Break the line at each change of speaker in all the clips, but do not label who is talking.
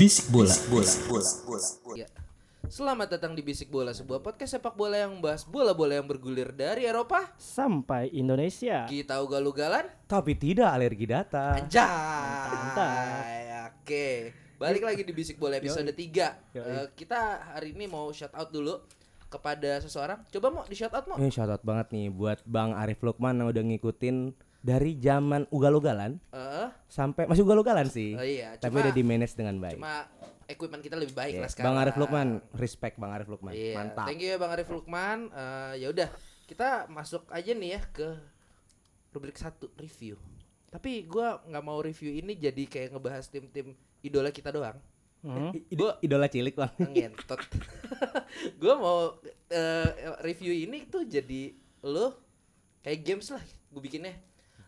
Bisik bola.
Ya. Selamat datang di Bisik Bola, sebuah podcast sepak bola yang membahas bola-bola yang bergulir dari Eropa.
sampai Indonesia.
Kita ugal-ugalan.
Tapi tidak alergi data.
Anjay. Oke. Balik lagi di Bisik Bola episode 3. Eh, kita hari ini mau shout out dulu kepada seseorang. Coba mau di shout out mau.
Ini shout out banget nih buat Bang Arif Lukman yang udah ngikutin dari zaman ugal-ugalan
Eh,
sampai masih ugal-ugalan sih.
Oh iya,
tapi
cuma-
udah di manage dengan baik.
cuma equipment kita lebih baik
Iya,
lah sekarang.
Bang Arif Lukman, respect Bang Arif Lukman.
Iya,
Mantap.
Thank you ya Bang Arif Lukman. Eh, ya udah, kita masuk aja nih ya ke rubrik satu review. Tapi gua nggak mau review ini jadi kayak ngebahas tim-tim idola kita doang.
Hmm.
I- ide- idola cilik Bang.
Ngentot. gua mau eh, review ini tuh jadi lo kayak games lah gue bikinnya.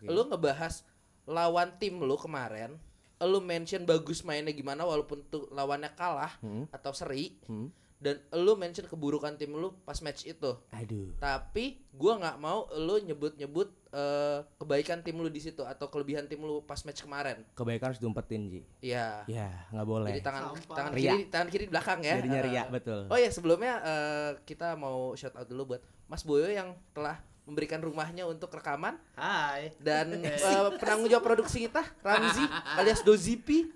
Lo ngebahas lawan tim lo kemarin lo mention bagus mainnya gimana walaupun tuh lawannya kalah atau seri
Hmm.
dan lo mention keburukan tim lo pas match itu
Aduh.
tapi gua nggak mau lo nyebut-nyebut eh, kebaikan tim lu di situ atau kelebihan tim lu pas match kemarin
Kebaikan harus diumpetin, Ji.
ya
Ya, nggak boleh.
jadi tangan tangan
Ria.
kiri tangan kiri di belakang ya
Jadinya
Eh,
ria,
eh.
betul.
oh ya sebelumnya eh, kita mau shout out dulu buat Mas Boyo yang telah memberikan rumahnya untuk rekaman
Hai.
dan eh, penanggung jawab produksi kita Ramzi alias Dozipi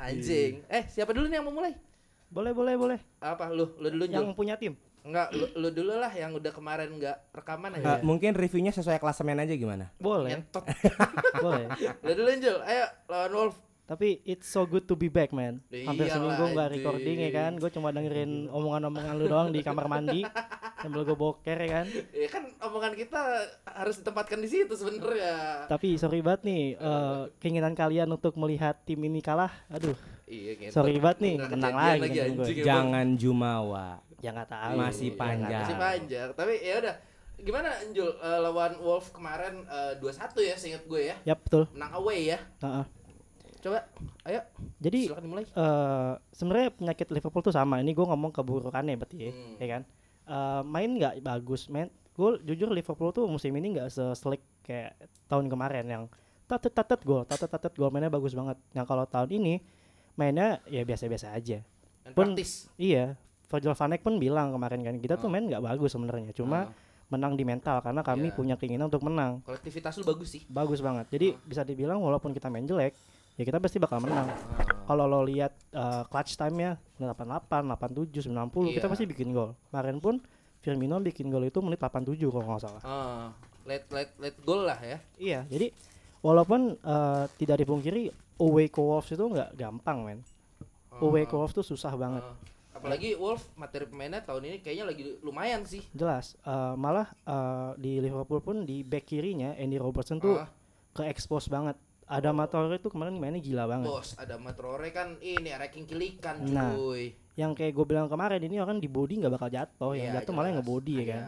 anjing eh siapa dulu nih yang mau mulai
Boleh, boleh, boleh.
apa lu lu dulu
Yang
Jul.
punya tim.
nggak lu, lu dulu lah yang udah kemarin nggak rekaman ya?
Eh,
aja
mungkin reviewnya sesuai klasemen aja gimana?
Boleh,
Ngentot.
boleh.
Udah dulu Jul, ayo lawan Wolf.
Tapi it's so good to be back, man. Hampir
Iyalah,
seminggu nggak
anjing.
recording ya kan. Gue cuma dengerin omongan-omongan lu doang di kamar mandi sambil gue boker ya kan.
Ya kan omongan kita harus ditempatkan di situ sebenarnya.
Tapi sorry banget nih eh, keinginan kalian untuk melihat tim ini kalah. Aduh,
Iya gitu.
sorry banget nih. Menang lagi.
lagi
temen gua.
anjing.
Jangan jumawa.
Iya.
Ya nggak tahu.
Masih
Ya,
panjang.
Masih panjang. Tapi ya udah. Gimana Jul Eh, lawan Wolf kemarin eh, 2-1 ya seingat gue ya.
nggak- Yap, betul.
Menang away ya.
Heeh.
Coba ayo
Jadi
silakan dimulai.
eh sebenarnya penyakit Liverpool tuh sama. Ini gue ngomong keburukannya berarti ya,
Hmm.
ya kan. Eh, main nggak bagus, main. Gue jujur Liverpool tuh musim ini nggak seselik kayak tahun kemarin yang tatet tatet gol, tatet tatet gol mainnya bagus banget. Yang kalau tahun ini mainnya ya biasa-biasa aja.
Dan
pun-
praktis.
Iya, Virgil van Dijk pun bilang kemarin kan kita tuh
Ah.
main nggak bagus sebenarnya, cuma
Ah,
menang di mental karena kami
Iya.
punya keinginan untuk menang.
kolektivitas lu bagus sih.
Bagus banget. Jadi
Hmm.
bisa dibilang walaupun kita main jelek, ya kita pasti bakal menang
Hmm.
kalau lo lihat eh, clutch time-nya 88, 87, 90 kita
Iya.
pasti bikin gol. Kemarin pun Firmino bikin gol itu menit 87 kalau nggak salah.
Ah, let let let goal lah ya.
Iya, jadi walaupun eh, tidak dipungkiri away ke Wolves itu nggak gampang, men. Away
Hmm.
ke Wolves tuh susah banget.
Ah, apalagi Wolf materi pemainnya tahun ini kayaknya lagi lumayan sih.
Jelas, eh, malah eh, di Liverpool pun di back kirinya Andy Robertson tuh
Ah.
ke-expose banget. Ada Matore itu kemarin mainnya gila banget.
Bos, ada Matrore kan ini ranking kilikan
Nah,
cuy.
Yang kayak gue bilang kemarin ini orang di body nggak bakal jatuh, Oh, yang
Iya,
jatuh malah yang
jelas.
ngebody ya
Iya.
kan.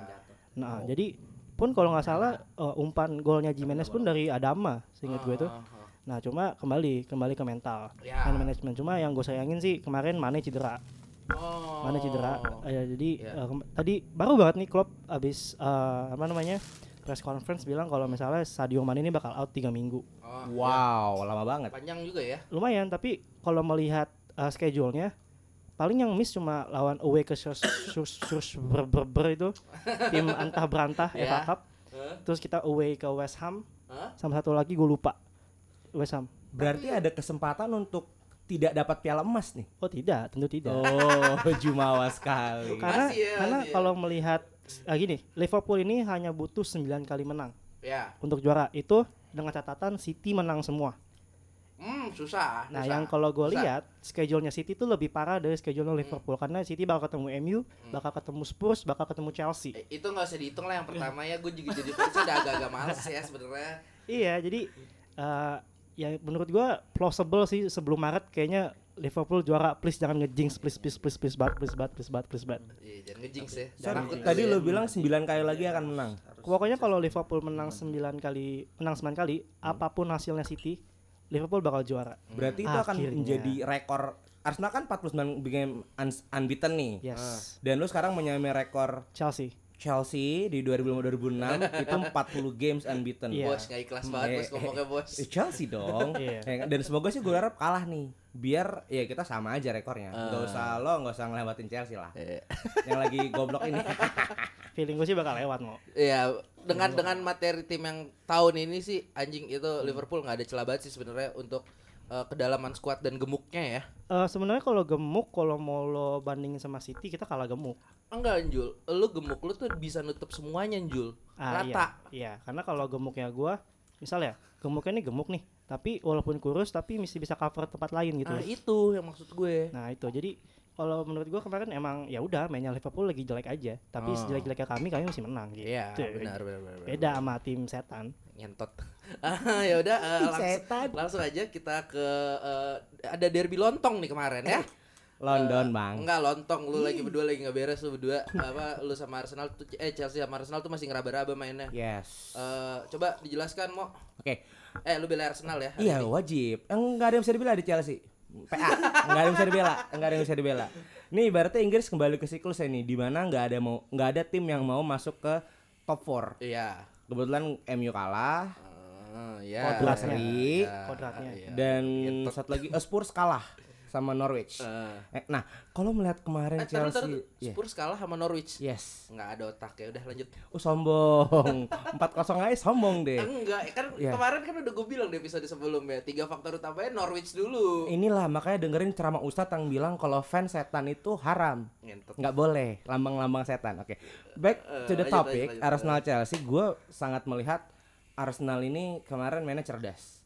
Nah, jadi pun kalau nggak salah eh, umpan golnya Jimenez pun dari Adama, seingat gue tuh.
Ah, ah, ah.
Nah, cuma kembali kembali ke mental.
Ya.
Hand management cuma yang gue sayangin sih kemarin Mane cedera.
Oh.
Mane cedera. Eh, jadi eh,
Ya.
kem- tadi baru banget nih Klopp abis eh, apa namanya? press conference bilang kalau misalnya Sadio Mane ini bakal out 3 minggu.
Oh,
Wow, lama
ya.
banget.
Panjang juga ya.
Lumayan, tapi kalau melihat eh, schedule-nya paling yang miss cuma lawan away ke Sus Sus Sus- ber, ber, ber itu tim antah berantah
Ya.
FA Cup.
Hah?
Terus kita away ke West Ham.
Hah?
Sama satu lagi gue lupa. West Ham.
Berarti
Iya.
ada kesempatan untuk tidak dapat piala emas nih.
Oh tidak, tentu tidak.
Oh, jumawa sekali.
Karena
Masih ya,
karena
masih ya.
kalau melihat ah, gini, Liverpool ini hanya butuh 9 kali menang
Ya.
untuk juara. Itu dengan catatan City menang semua.
Hmm, susah.
Nah,
susah.
yang kalau gue
Susah. Hmm.
lihat schedule-nya City itu lebih parah dari schedule Liverpool karena City bakal ketemu MU, bakal ketemu Spurs, bakal ketemu Chelsea.
Eh, itu nggak usah dihitung lah yang pertama ya gue juga jadi fans udah agak-agak males ya sebenarnya
Iya, jadi eh, ya menurut gua plausible sih sebelum Maret kayaknya Liverpool juara. Please jangan ngejinx, please please pleese please banget, please banget, please banget, please banget.
Iya, jangan ngejinx ya
Sorry,
Takut
tadi
gue
lo
ya.
bilang 9 kali lagi
Iya,
akan menang.
Pokoknya kalau Liverpool menang
Hmm.
9 kali, menang 9 kali, apapun hasilnya City, Liverpool bakal juara.
Hmm.
Berarti itu akan
Akhirnya.
menjadi rekor Arsenal kan 49 game un- unbeaten nih.
Yes.
Dan lu sekarang menyamai rekor
Chelsea.
Chelsea di 2005-2006 itu 40 games unbeaten.
Iya.
Bos nggak ikhlas banget bos
Eh,
ngomongnya bos.
Eh, Chelsea dong.
Iya.
Eh, Dan semoga sih gue harap kalah nih. Biar ya kita sama aja rekornya. Gak
Ah.
usah lo gak usah ngelewatin Chelsea lah.
Eh,
Yang lagi goblok ini.
Feeling gue sih bakal lewat mau.
Iya, dengan dengan materi tim yang tahun ini sih anjing itu Liverpool nggak ada celah banget sih sebenarnya untuk eh, kedalaman skuad dan gemuknya ya.
Eh Sebenarnya kalau gemuk, kalau mau lo bandingin sama City, kita kalah gemuk.
Enggak, Jul. Lu gemuk lu tuh bisa nutup semuanya, Jul.
Ah,
Rata.
Iya, iya. Karena kalau gemuknya gue, misalnya gemuknya ini gemuk nih, tapi walaupun kurus, tapi mesti bisa cover tempat lain gitu.
Nah, itu yang maksud gue.
Nah itu jadi kalau menurut gua kemarin emang ya udah mainnya Liverpool lagi jelek aja, tapi
Oh.
sejelek-jeleknya kami kami masih menang gitu.
Iya,
Itu ya,
benar, benar, benar, benar.
Beda sama tim setan.
Ngentot. Ah, ya udah eh, langsung,
Setan.
langsung aja kita ke eh, ada derby lontong nih kemarin ya.
London bang.
Enggak lontong lu
Hmm.
lagi berdua lagi nggak beres lu berdua apa lu sama Arsenal tuh eh Chelsea sama Arsenal tuh masih
Iya.
ngeraba-raba mainnya.
Yes.
Eh, coba dijelaskan mau
Oke.
eh lu bela Arsenal ya hari
Iya
ini.
wajib. Enggak ada yang bisa dibela di Chelsea. PA. Enggak ada yang bisa dibela. Enggak ada yang bisa dibela. Nih ibaratnya Inggris kembali ke siklusnya nih di mana enggak ada mau enggak ada tim yang mau masuk ke top 4.
iya
Kebetulan MU kalah
Eh, iya
Kodrat
iya,
seri.
iya,
Kodratnya.
iya.
dan satu lagi eh, Spurs kalah sama Norwich.
Eh,
Eh, nah, kalau melihat kemarin
eh, taruh,
Chelsea
taruh.
Iya.
Spurs kalah sama Norwich
Yes.
nggak ada otak ya udah lanjut
Oh sombong. 4-0 aja sombong deh.
enggak kan
Iya.
kemarin kan udah gue bilang di episode sebelumnya tiga faktor utamanya Norwich dulu
Inilah makanya dengerin ceramah Ustadz yang bilang kalau fans setan itu haram.
Ngentot.
nggak boleh lambang-lambang setan oke back to the
Eh, lanjut,
topic
lanjut, lanjut.
Arsenal Chelsea gue sangat melihat Arsenal ini kemarin mainnya cerdas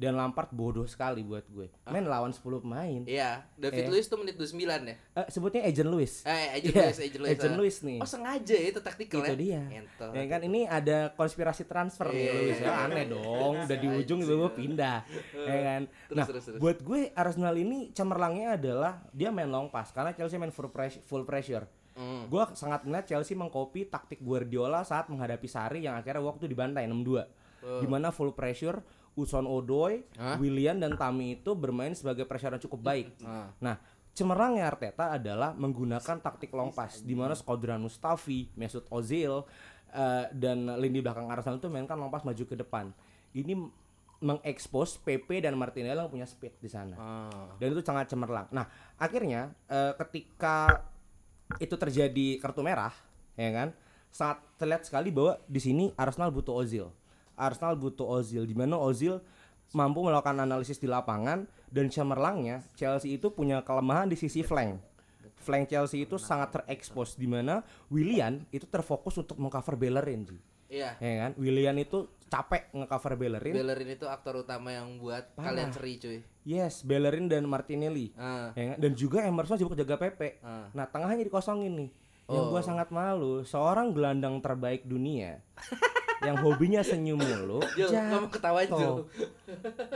dan Lampard bodoh sekali buat gue main lawan 10 pemain
Ah. iya David
Eh.
Luiz tuh menit 29 ya
Eh, sebutnya Agent Lewis
eh Agent
Iya,
Luiz Agent Luis
Agent Lewis nih
oh sengaja ya, itu taktikal
itu
ya
dia
Ngentot.
ya kan ini ada konspirasi transfer nih
Iya.
Lewis ya aneh dong udah di ujung itu gue pindah ya kan
Terus,
nah
terus, terus.
buat gue Arsenal ini cemerlangnya adalah dia main long pass karena Chelsea main full pressure, full pressure.
Hmm.
Gue sangat melihat Chelsea mengkopi taktik Guardiola saat menghadapi Sari yang akhirnya waktu dibantai 6-2. Dimana full pressure, Uson Odoi,
Hmm. Hah?
Willian dan Tami itu bermain sebagai pressure yang cukup baik.
Ah.
Nah, cemerlangnya Arteta adalah menggunakan taktik long pass di mana Skodran Mustafi, Mesut Ozil eh, dan lini belakang Arsenal itu mainkan long pass maju ke depan. Ini mengekspos PP dan Martinelli yang punya speed di sana
Ah.
dan itu sangat cemerlang. Nah, akhirnya eh, ketika itu terjadi kartu merah, ya kan? Sangat terlihat sekali bahwa di sini Arsenal butuh Ozil. Arsenal butuh Ozil di mana Ozil mampu melakukan analisis di lapangan dan cemerlangnya Chelsea itu punya kelemahan di sisi flank. Flank Chelsea itu sangat terekspos di mana Willian itu terfokus untuk mengcover Bellerin, Ji.
iya
ya kan? Willian itu capek ngecover Bellerin.
Bellerin itu aktor utama yang buat
Iya. Parah.
kalian seri cuy.
Yes, Bellerin dan Martinelli.
Ah.
Ya kan? dan juga Emerson sibuk jaga PP.
Ah.
Nah, tengahnya dikosongin nih. Yang
Oh.
gua sangat malu, seorang gelandang terbaik dunia yang hobinya senyum mulu.
Jul, kamu
jatuh. Oh.
ketawa Jul.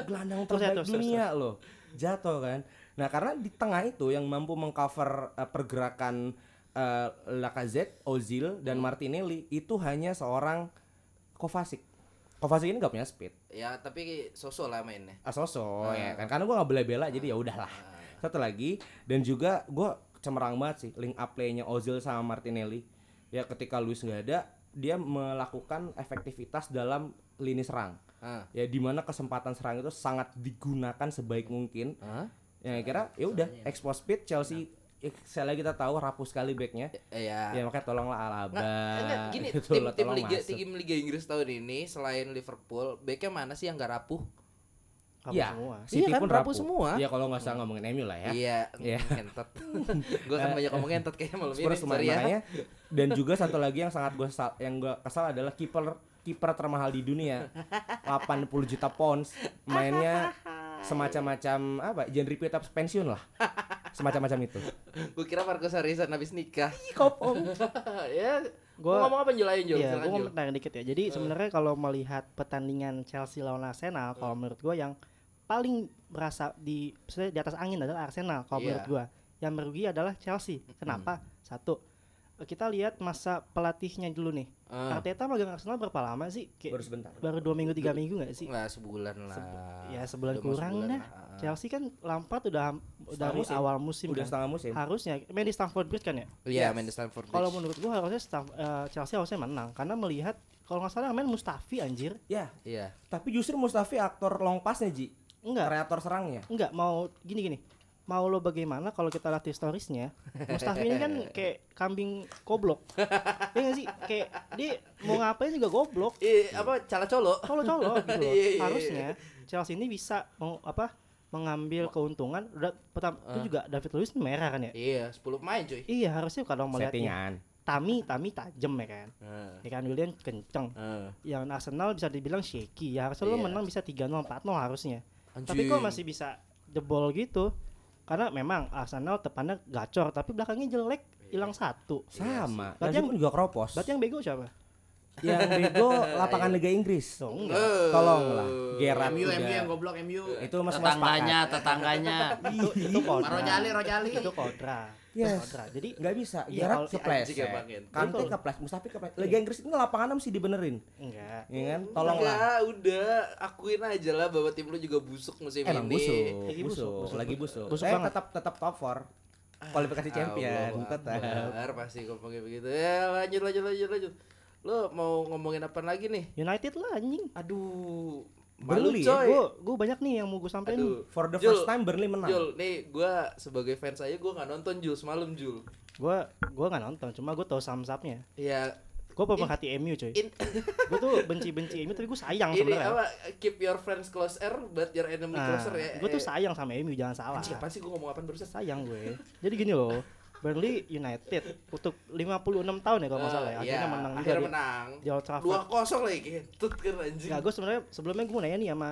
Gelandang
Terus ya,
terbaik
terus, terus,
dunia loh. Jatuh kan. Nah, karena di tengah itu yang mampu mengcover eh, pergerakan eh, Lacazette, Ozil dan
Hmm.
Martinelli itu hanya seorang Kovacic. Kovacic ini gak punya speed.
Ya, tapi sosok lah mainnya.
Asoso ya
Ah.
kan karena gue nggak bela-bela jadi ya udahlah satu lagi dan juga gue cemerlang banget sih link up play-nya Ozil sama Martinelli ya ketika Luis nggak ada dia melakukan efektivitas dalam lini serang
Ah.
ya dimana kesempatan serang itu sangat digunakan sebaik mungkin
Hah?
yang kira ya udah expose speed Chelsea ya, sekali lagi kita tahu rapuh sekali backnya
Ya.
ya makanya tolonglah Alaba
Nggak, enggak, gini,
gitu
tim,
loh,
tim
tolong
Liga,
masuk.
tim Liga Inggris tahun ini selain Liverpool, backnya mana sih yang gak rapuh?
Kamu
Iya,
semua.
City
Iya kan,
pun
rapuh semua.
Ya kalau nggak usah ngomongin MU lah ya.
Iya,
Ya.
entot. Gue kan banyak ngomong entot kayaknya malam ini,
Spurs
sorry
kemarin
ya.
makanya dan juga satu lagi yang sangat gue yang gue kesal adalah kiper kiper termahal di dunia 80 juta pounds mainnya semacam-macam apa genre tetap pensiun lah semacam-macam itu
Gue kira Marcus Harrison habis nikah.
kopong
ya, gue
Gua-
ngomong apa Jul aja Jul,
Iya,
silakan
gue mau
Jul.
menang dikit ya. Jadi sebenarnya kalau melihat pertandingan Chelsea lawan Arsenal, kalau menurut gua yang paling berasa di maksudnya di atas angin adalah Arsenal. Kalau
Iya.
menurut gua yang merugi adalah Chelsea. Kenapa? Satu, kita lihat masa pelatihnya dulu nih.
Ah,
Arteta magang Arsenal berapa lama sih?
baru
Kayak
sebentar
baru dua minggu tiga minggu nggak sih?
nggak sebulan lah.
ya, sebulan
Udah mau
kurang dah.
lah, ah.
Chelsea kan Lampard udah ham- dari
musim.
awal musim
udah
kan?
setengah musim
harusnya main di Stamford Bridge kan ya.
Yes.
Iya, main di Stamford Bridge.
Kalau menurut gua harusnya Stam- eh, Chelsea harusnya menang karena melihat kalau nggak salah main Mustafi anjir.
ya
iya.
tapi justru Mustafi aktor long passnya Ji
Enggak,
kreator serangnya
enggak mau gini gini. Mau lo bagaimana kalau kita latih storiesnya Mustafi ini kan kayak kambing goblok Iya nggak sih? Kayak dia mau ngapain juga goblok
Eh, apa cala colo?
kalau colok gitu loh.
Iya, iya, iya.
harusnya Chelsea ini bisa meng, apa mengambil keuntungan udah pertama itu
Ah.
juga David Luiz ini merah kan ya
Iya, 10 pemain cuy.
iya harusnya kalau melihat
settingan
Tami Tami tajam ya kan
Heeh.
ya kan William kenceng
Ah,
yang Arsenal bisa dibilang shaky ya harusnya lo
Iya.
menang bisa 3-0 4-0 harusnya ah.
Anjing.
tapi kok masih bisa jebol gitu karena memang Arsenal depannya gacor tapi belakangnya jelek
Iya.
hilang satu
sama
Berarti
Lazio
yang-
pun juga keropos
berarti yang bego siapa
yang bego lapangan Liga Inggris
dong
Eh,
tolonglah Gerard
MU, MU yang
udah
goblok MU.
itu mas mas
tetangganya tetangganya
itu, itu
iya.
kodrat
Rojali, Rojali.
itu kodrat Itu
Yes.
kodrat. jadi
nggak bisa
Iya,
Gerard
kalau si
kepleset
anjing emang ente.
Kante kepleset Mustafi kepleset Liga Inggris ini lapangan mesti dibenerin
enggak
ya kan tolonglah
Enggak, udah akuin aja lah bahwa tim lu juga busuk musim
Emang
ini.
busuk,
Lagi busuk,
busuk,
busuk.
lagi busuk. Ah, ya
Busuk
Tapi
banget.
tetap tetap top 4 kualifikasi champion
Allah
tetap.
Akbar, pasti ngomongin begitu. Ya, lanjut lanjut lanjut lanjut. Lo mau ngomongin apa lagi nih?
United lah anjing
Aduh, malu
Beli ya,
coy.
gue gue banyak nih yang mau gue sampein
Aduh.
For the
Jul,
first time Burnley menang. Eh,
Jul, nih gue sebagai fans aja gue nggak nonton Jul semalam Jul.
gue gue nggak nonton cuma gue tahu samsapnya
Ya,
gue pemerhati MU coy
in-
gue tuh benci benci MU tapi gue sayang
ini
Eh, sebenarnya
apa? Keep your friends closer, but your enemy
nah,
closer ya.
gue tuh
Eh,
sayang sama MU jangan salah
Anjing, apaan sih gue ngomong apaan barusan?
sayang gue jadi gini loh Burnley United untuk 56 tahun ya kalau nggak salah ya
Eh, iya,
akhirnya menang juga
akhirnya
di-
menang.
di Old Trafford
Dua kosong lagi, kentut kan anjing.
Nggak, gue sebenarnya sebelumnya gue mau nanya nih sama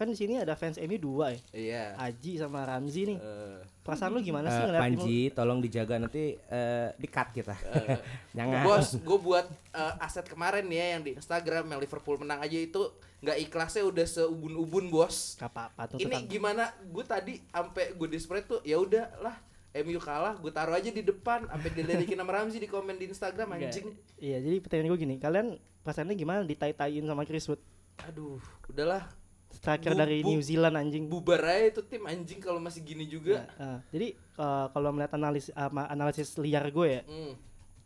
kan di sini ada fans MU dua ya
Iya.
Aji sama Ramzi nih
Eh,
perasaan lu gimana sih
Eh,
ngeliat MU?
Panji, tolong dijaga nanti eh, di cut kita. Jangan.
Bos, gue buat eh, aset kemarin nih ya yang di Instagram yang Liverpool menang aja itu nggak ikhlasnya udah seubun-ubun bos.
Nggak apa-apa tuh
Ini gimana? Gue tadi sampai gue desperate tuh ya udahlah MU kalah, gue taruh aja di depan, sampai diledekin sama Ramzi di komen di Instagram anjing.
Iya, jadi pertanyaan gue gini, kalian perasaannya gimana ditai-taiin sama Chris Wood?
Aduh, udahlah
Striker
Bu-
dari
bu-
New Zealand anjing.
bubar aja itu tim anjing kalau masih gini juga.
Nah, eh, jadi eh, kalau melihat analis ama- analisis liar gue ya,
Hmm.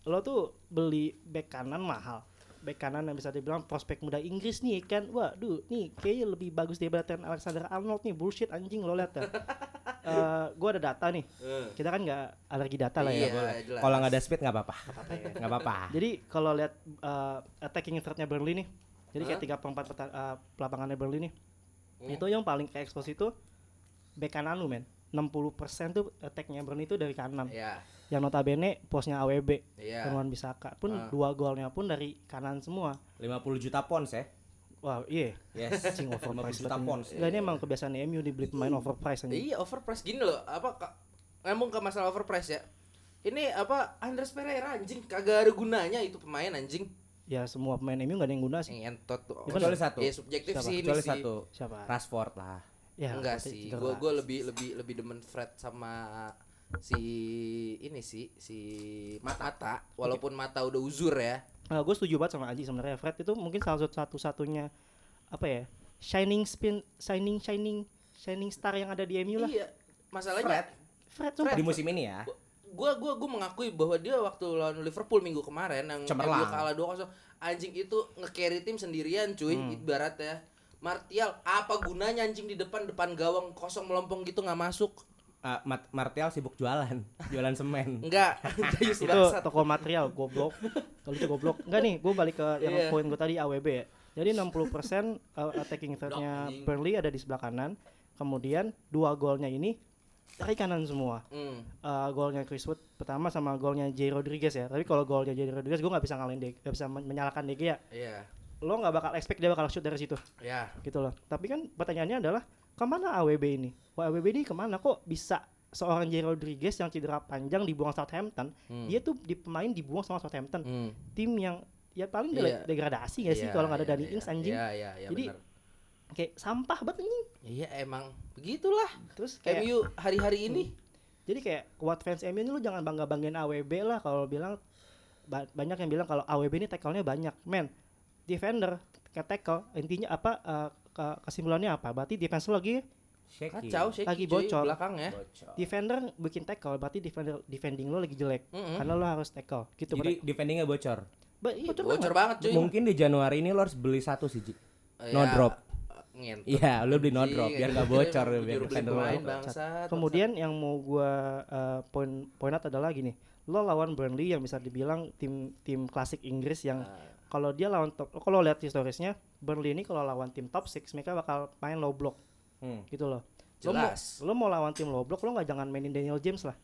lo tuh beli bek kanan mahal. Bek kanan yang bisa dibilang prospek muda Inggris nih kan. Waduh, nih kayaknya lebih bagus daripada Trent Alexander Arnold nih. Bullshit anjing lo lihat ya. Eh, gue ada data nih.
Eh.
Kita kan nggak alergi data lah ya.
Iya,
boleh.
jelas.
Kalau nggak ada speed nggak apa-apa. ya. Nggak apa-apa.
Jadi kalau lihat eh, attacking threat-nya Burnley nih. Jadi kayak
Hah?
tiga per empat peta- eh, lapangannya Burnley nih.
Hmm.
Itu yang paling ke expose itu bek kanan lu men. 60% tuh attack-nya Burnley itu dari kanan.
Ya,
Yang notabene posnya AWB.
ya.
Temuan Bisaka pun
Ah.
dua golnya pun dari kanan semua.
50 juta pounds ya.
Wah, iya.
Yes.
Cing
50
overpriced
juta
banget.
pounds.
Nggak, ini emang kebiasaan MU dibeli pemain overpriced anjing.
Iya overpriced gini loh apa ka- ngomong ke masalah overpriced ya ini apa Andres Pereira anjing kagak ada gunanya itu pemain anjing
Ya semua pemain MU nggak ada yang guna sih.
ngentot tuh
Kecuali satu.
ya subjektif
Siapa?
sih ini
Kecuali
sih
satu.
Siapa?
Rashford lah.
Ya,
Iya. enggak
berarti
sih
cedera.
gue gue lebih lebih lebih demen Fred sama si ini sih si mata, Mata. walaupun mata udah uzur ya
gue Nah, setuju banget sama Aji sebenarnya Fred itu mungkin salah satu satu satunya apa ya shining spin shining shining shining star yang ada di MU lah.
iya masalahnya
Fred
Di
sumpah.
musim ini ya.
gue gua gua mengakui bahwa dia waktu lawan Liverpool minggu kemarin yang
Cemerlang.
MU kalah 2-0 anjing itu nge-carry tim sendirian cuy
Hmm.
ibarat ya Martial apa gunanya anjing di depan depan gawang kosong melompong gitu nggak masuk
eh, Mart- Martial sibuk jualan, jualan semen.
enggak Jayus
itu
bangsat
toko material goblok. Kalau itu goblok. Enggak nih, gue balik ke yang
Iya.
poin gue tadi AWB ya. Jadi 60% uh, attacking threat-nya
anjing.
Burnley ada di sebelah kanan. Kemudian dua golnya ini dari kanan semua.
hmm.
Uh, golnya Chris Wood pertama sama golnya Jay Rodriguez ya. Tapi kalau golnya Jay Rodriguez gue nggak bisa ngalahin De, nggak bisa men- menyalahkan De Gea.
ya
Lo nggak bakal expect dia bakal shoot dari situ.
ya
gitu loh. Tapi kan pertanyaannya adalah kemana AWB ini? Wah, AWB ini kemana kok bisa seorang Jay Rodriguez yang cedera panjang dibuang Southampton?
Hmm.
Dia tuh di pemain dibuang sama Southampton,
hmm.
tim yang ya paling
Iya.
dele- degradasi gak sih kalau nggak ada Dani Ings anjing?
ya ya ya
Jadi-
benar
Kayak sampah banget anjing.
iya emang begitulah
Terus kayak Hmm.
MU hari-hari ini
jadi kayak buat fans MU ini lu jangan bangga banggain AWB lah kalau bilang ba- banyak yang bilang kalau AWB ini tackle-nya banyak. Men, defender ke tackle intinya apa eh, ke- kesimpulannya apa? Berarti defense lu lagi
Shaky.
Kacau sih
Lagi bocor.
belakang ya.
Bocor.
defender bikin tackle, berarti defender defending lu lagi jelek.
Mm-mm.
Karena lu harus tackle gitu.
Jadi defendingnya bocor.
Ba- iya, betul
Bocor
banget.
banget cuy.
Mungkin di Januari ini lo harus beli satu sih, Ji.
Ya,
No drop.
Ngentut.
Iya, lo beli no drop
Anjing,
biar nggak
akhirnya
bocor
juru
biar
beli
defender lo.
pemain,
bocor.
bangsat.
Kemudian yang mau gua eh, poin poin out adalah gini. Lo lawan Burnley yang bisa dibilang tim tim klasik Inggris yang kalau dia lawan top kalau lihat historisnya Burnley ini kalau lawan tim top 6 mereka bakal main low block
Hmm.
gitu loh.
Jelas.
Lo mau, lo mau lawan tim low block lo nggak jangan mainin Daniel James lah.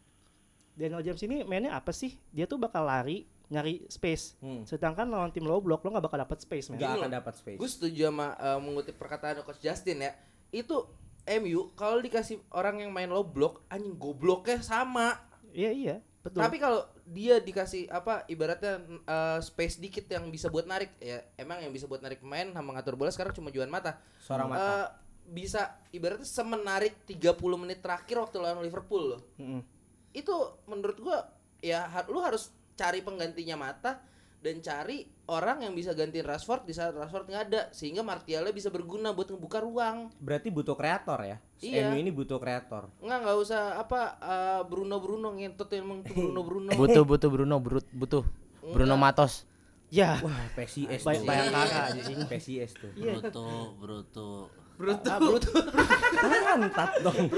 Daniel James ini mainnya apa sih? Dia tuh bakal lari nyari space.
Hmm.
Sedangkan lawan tim low block lo nggak bakal dapet space men.
Nggak
Gini
akan
loh,
dapat space.
Gue setuju sama eh, mengutip perkataan coach Justin ya. Itu MU kalau dikasih orang yang main low block anjing gobloknya sama.
Iya iya betul.
Tapi kalau dia dikasih apa ibaratnya eh, space dikit yang bisa buat narik ya emang yang bisa buat narik pemain sama ngatur bola sekarang cuma Juan Mata.
Seorang mata.
Eh, bisa ibaratnya semenarik 30 menit terakhir waktu lawan Liverpool loh.
Mm-mm.
Itu menurut gua ya har- lu harus cari penggantinya mata dan cari orang yang bisa gantiin Rashford di saat Rashford nggak ada sehingga Martialnya bisa berguna buat ngebuka ruang.
Berarti butuh kreator ya.
Iya.
MU ini butuh kreator.
Nggak nggak usah apa eh, Bruno Bruno ngentut emang tuh Bruno Bruno.
Butuh butuh Bruno brut butuh. Bruno Matos.
Ya.
Wah, PCS
Bay-
tuh.
Bayangkara, anjing.
PCS tuh.
Bruto, Bruto.
Bruto.
Mantap dong.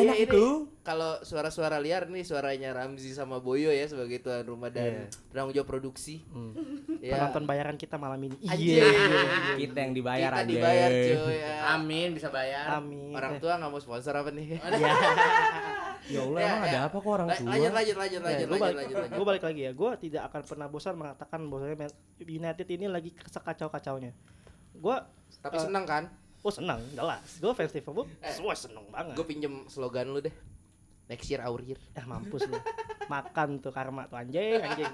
Enak
iya, ini
itu.
Kalau suara-suara liar nih suaranya Ramzi sama Boyo ya sebagai tuan rumah dan
Iya.
penanggung jawab produksi.
Hmm.
Ya.
Penonton bayaran kita malam ini. Iya,
Anjing.
Iya,
Kita yang dibayar
Kita
aja.
dibayar cuy ya.
Amin Iya. bisa bayar.
Amin.
Orang tua nggak mau sponsor apa nih?
Ya Allah,
Ya,
emang
ya.
ada apa kok orang
La-
tua?
Lanjut lanjut lanjut
gue
lanjut
Eh,
lanjut
balik,
lanjut.
Ya, gua balik lagi ya. Gue tidak akan pernah bosan mengatakan bahwasanya Man- United ini lagi sekacau kacaunya. Gue
Tapi seneng kan?
oh senang jelas. Gue fans Liverpool,
Eh.
wah seneng banget.
Gue pinjem slogan lu deh. Next year our year.
Ah mampus lu. Makan tuh karma tuh anjing anjing.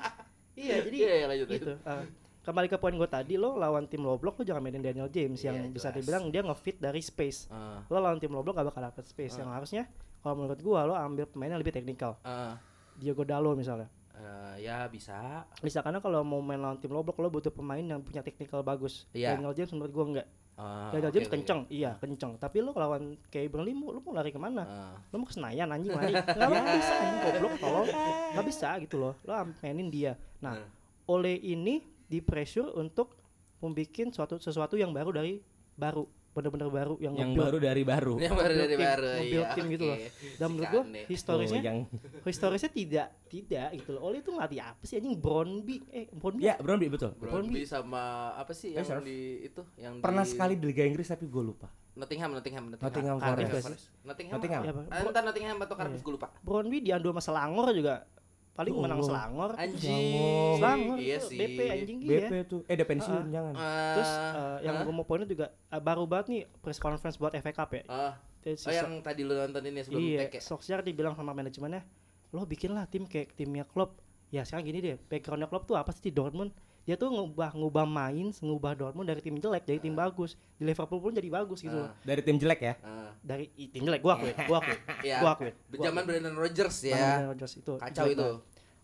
iya jadi
Iya, iya, lanjut,
gitu. Eh, kembali ke poin gue tadi lo lawan tim low block lo jangan mainin Daniel James
Iya,
yang bisa
jelas.
dibilang dia ngefit dari space.
Ah,
Lo lawan tim low block gak bakal dapet space yang harusnya kalau menurut gue lo ambil pemain yang lebih teknikal.
ah,
Diego Dalo misalnya.
eh, ya bisa.
Misalkan kalau mau main lawan tim low block lo butuh pemain yang punya teknikal bagus.
Iya.
Daniel James menurut gua enggak.
Ah,
Daniel
oke,
James
oke,
kenceng, iya kenceng. Tapi lo lawan kayak Burnley mau lo mau lari
oke.
kemana?
Ah.
Lo mau ke Senayan anjing lari? Nggak nggak bisa anjing goblok tolong. Nggak bisa gitu loh. Lo am- mainin dia. Nah,
Hmm.
oleh ini di pressure untuk membuat suatu sesuatu yang baru dari baru bener-bener baru yang,
Yang
nge-build.
baru dari baru.
Ini yang baru dari
Nge-build
baru.
tim,
iya,
nge-build tim gitu
oke.
loh. Dan
Si
menurut gue
Kane.
historisnya
iya.
Oh, yang
historisnya tidak tidak gitu loh. Oleh itu ngelatih apa sih anjing Brownby eh
Iya.
Brownby
ya, Brownby betul.
Brownby sama apa
Eh,
sih yang
Yes, sir.
di itu yang
Pernah
di
sekali di Liga Inggris tapi gue lupa.
Nottingham Nottingham
Nottingham
Cardiff
Forest.
nggak sih?
Nottingham.
Nottingham.
Ya,
Ya,
Bang.
Ah, Entah Nottingham atau Cardiff
Iya.
gue lupa.
Brownby diandu sama Selangor juga paling menang
Oh.
Selangor
Anjing.
Selangor
Iya
itu
sih.
BP anjing iya
BP tuh. Eh, ada pensiun jangan.
Ah,
terus eh, yang
ah,
gue mau poinnya juga eh, baru banget nih press conference buat FA Cup ya
ah.
Terus
Oh
si-
yang tadi lu nonton ini sebelum
iya
tag ya?
Solskjaer dibilang sama manajemennya lo bikinlah tim kayak timnya Klopp ya sekarang gini deh backgroundnya Klopp tuh apa sih di Dortmund dia tuh ngubah ngubah main ngubah Dortmund dari tim jelek jadi tim bagus di Liverpool pun jadi bagus gitu loh.
Dari tim jelek ya.
Ah,
dari i- tim jelek gua akui gua akui
Iya.
gua akui Gua
Zaman Brandon Rogers
akui.
ya.
Bang Rodgers itu
Kacau
jelek
itu.
banget.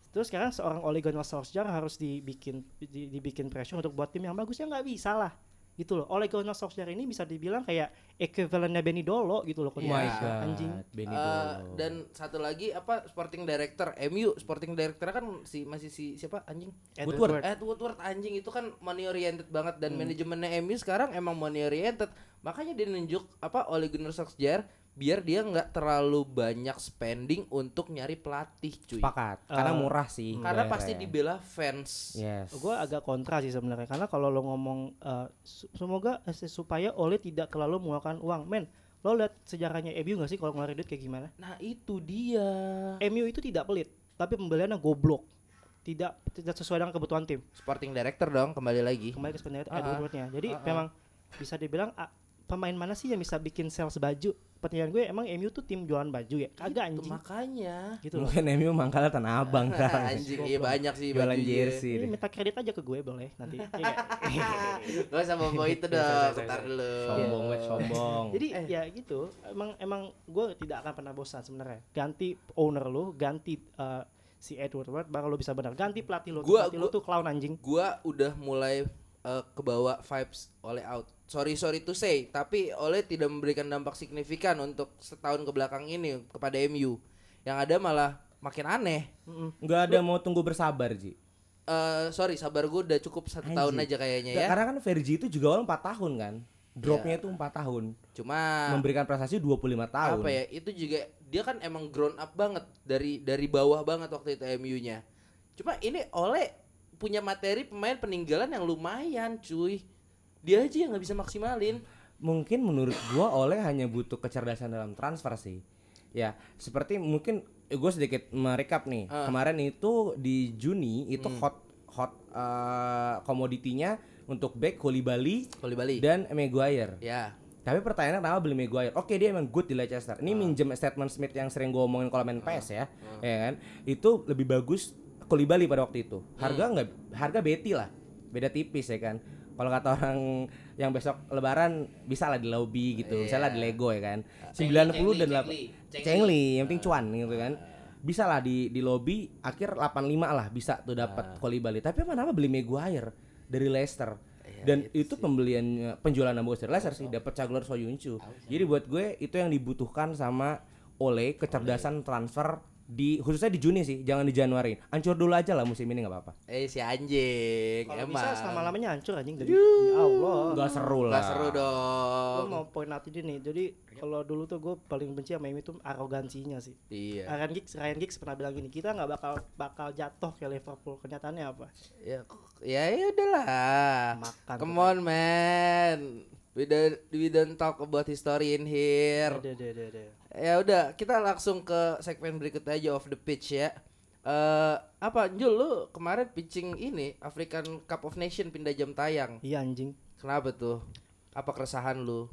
Terus sekarang seorang Ole Gunnar Solskjaer harus dibikin di- dibikin pressure untuk buat tim yang bagus ya nggak bisa lah gitu loh. Ole Gunnar Solskjaer ini bisa dibilang kayak equivalentnya Benny Dolo gitu loh
Oh
Iya.
my
kondisi
god.
anjing.
Benny
Eh,
Dolo.
dan satu lagi apa sporting director MU sporting director kan si masih si siapa anjing
Woodward.
Ed Woodward anjing itu kan money oriented banget dan
Hmm.
manajemennya MU sekarang emang money oriented makanya dia nunjuk apa Ole Gunnar Solskjaer biar dia nggak terlalu banyak spending untuk nyari pelatih cuy
Sepakat. Iya, Karena
Eh,
murah sih.
karena
bayarnya.
pasti dibela fans
Yes.
Gue Oh, agak kontra sih sebenarnya karena kalau lo ngomong eh, su- semoga eh, supaya Ole tidak terlalu mengeluarkan uang, men. Lo lihat sejarahnya MU nggak sih kalau ngeluarin duit kayak gimana?
nah itu dia
MU itu tidak pelit, tapi pembeliannya goblok. Tidak tidak sesuai dengan kebutuhan tim.
sporting director dong kembali lagi
kembali ke sebenarnya
Ah, ah.
Edward-nya. Jadi
Ah, ah.
memang bisa dibilang ah, pemain mana sih yang bisa bikin sales baju? Pertanyaan gue emang MU tuh tim jualan baju ya? Kagak
Itu
anjing.
makanya
Gitu loh.
Mungkin MU mangkal tanah abang kan.
anjing iya banyak sih
Jualan
bajunya.
jersey.
Ini
deh.
minta kredit aja ke gue boleh nanti. Iya nggak?
Gak usah bawa itu dong, ntar dulu.
Sombong
Iya.
wet sombong.
Jadi ya gitu. Emang emang gue tidak akan pernah bosan sebenarnya. Ganti owner lu, ganti eh, si Edward Ward baru lo bisa benar ganti pelatih lo
Gua-
pelatih lo
gua-
tuh clown anjing
gua udah mulai eh, kebawa vibes oleh out. Sorry sorry to say, tapi oleh tidak memberikan dampak signifikan untuk setahun kebelakang ini kepada MU. Yang ada malah makin aneh.
Nggak ada mau tunggu bersabar Ji
Eh sorry, sabar gue udah cukup satu
Anjir.
tahun aja kayaknya ya. Iya.
Karena kan Fergie itu juga awal 4 tahun kan Dropnya itu 4 tahun
Cuma
Memberikan prestasi 25 tahun
Nah. apa ya? Itu juga dia kan emang grown up banget dari dari bawah banget waktu itu MU-nya. Cuma ini oleh punya materi pemain peninggalan yang lumayan, cuy. Dia aja yang nggak bisa maksimalin.
Mungkin menurut gua oleh hanya butuh kecerdasan dalam transfer sih Ya seperti mungkin gue sedikit merekap nih
Ah.
Kemarin itu di Juni itu hot hot eh, komoditinya untuk back Koulibaly
Kali Bali.
dan Maguire
Ya.
Tapi pertanyaannya kenapa beli Maguire? Oke dia emang good di Leicester. Ini minjem statement Smith yang sering gue omongin kalau main PS ya, ya kan? Itu lebih bagus Kolibali pada waktu itu. Harga nggak, harga Betty lah, beda tipis ya kan. Kalau kata orang yang besok Lebaran bisa lah di lobby gitu, bisa lah di Lego ya kan. 90 dan
cengli,
8 Cengli, yang penting cuan gitu kan. Bisa lah di di lobby akhir 85 lah bisa tuh dapat Kolibali. Tapi apa nama beli Maguire dari Leicester dan itu pembelian eh, penjualan Ambos dari Leicester sih dapat Caglar Soyuncu. Jadi buat gue itu yang dibutuhkan sama oleh kecerdasan transfer di khususnya di Juni sih, jangan di Januari. Ancur dulu aja lah musim ini nggak apa-apa.
Eh si anjing,
kalau
emang.
bisa selama lamanya hancur anjing jadi ya Allah
Gak seru lah.
Nggak seru
gue
dong.
mau point out ini nih jadi kalau dulu tuh gue paling benci sama ini tuh arogansinya sih
Iya.
Ryan Giggs, Ryan Giggs pernah bilang gini kita nggak bakal bakal jatuh ke Liverpool kenyataannya apa
Ya, k- ya ya udahlah.
Makan
Come
tuh.
on man. We don't we don't talk about history in here.
Deh, deh, deh, deh.
Ya udah, kita langsung ke segmen berikutnya aja off the pitch ya. Eh apa Jul lu kemarin pitching ini African Cup of Nation pindah jam tayang.
iya anjing
Kenapa tuh? Apa keresahan lu?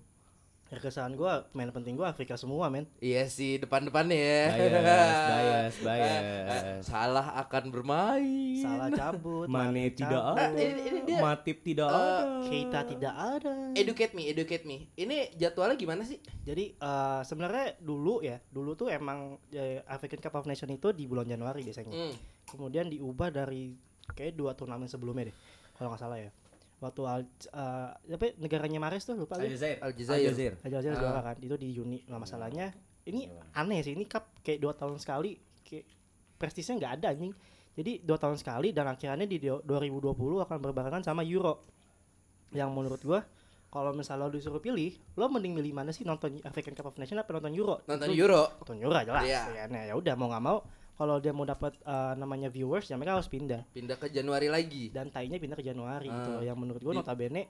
Ya, keresahan gue main penting gue Afrika semua men
Iya sih depan-depannya ya. Eh,
Bias, bias, bias.
Salah akan bermain.
salah cabut
Iya, Mane tidak
cabut.
ada.
Nah, ini- ini dia.
Matip tidak ada.
Keita tidak ada
Educate me, educate me. Ini jadwalnya gimana sih?
Jadi eh, sebenarnya dulu ya, dulu tuh emang eh, African Cup of Nation itu di bulan Januari biasanya.
Mm.
Hmm.
Kemudian diubah dari kayak dua turnamen sebelumnya deh, kalau nggak salah ya. Waktu Al, eh, apa negaranya Mares tuh lupa gue.
Aljazair.
Aljazair.
Aja
Ah.
juara kan, itu di Juni. Nah masalahnya
Hmm.
ini aneh sih, ini cup kayak dua tahun sekali, kayak prestisnya nggak ada anjing. Jadi dua tahun sekali dan akhirnya di do- 2020 akan berbarengan sama Euro. Yang menurut gua kalau misalnya lo disuruh pilih, lo mending milih mana sih nonton African Cup of Nations apa nonton Euro?
Nonton
Lu-
Euro.
Nonton Euro jelas.
Iya.
Ya, nah, ya udah mau nggak mau, kalau dia mau dapat eh, namanya viewers, ya mereka harus pindah
Pindah ke Januari lagi.
dan tainya pindah ke Januari gitu.
Ah.
Yang menurut gua
Di- Iya.
notabene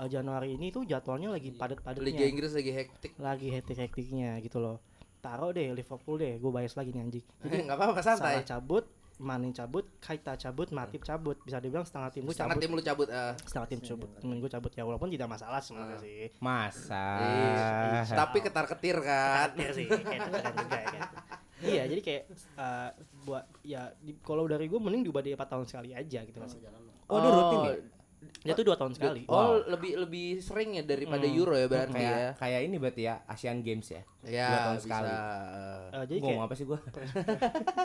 eh, Januari ini tuh jadwalnya lagi padat-padatnya
Liga Inggris lagi hektik.
lagi hektik-hektiknya gitu loh. Taruh deh Liverpool deh, gue bias lagi nih anjing.
Eh, Nggak apa-apa
Salah
santai.
cabut, Mane cabut, Kaita cabut, Matip cabut. Bisa dibilang setengah tim gue
Setengah
cabut.
tim lu cabut. eh.
Setengah tim cabut. Temen gue cabut ya walaupun tidak masalah sebenarnya sih.
Masa.
Iya,
Ah.
Tapi ketar-ketir kan.
Iya sih, kayak gitu kan juga ya kan. Iya, jadi kayak eh, buat ya di- kalau dari gue mending diubah di 4 tahun sekali aja gitu masih.
Oh, dia rutin ya?
Dia tuh 2 tahun sekali.
Oh, lebih lebih sering ya daripada Euro ya berarti
Kayak
ya.
kayak ini berarti ya Asian Games ya.
Ya,
Dua tahun
bisa.
sekali.
Eh, jadi
Ngomong
kayak
apa sih gua?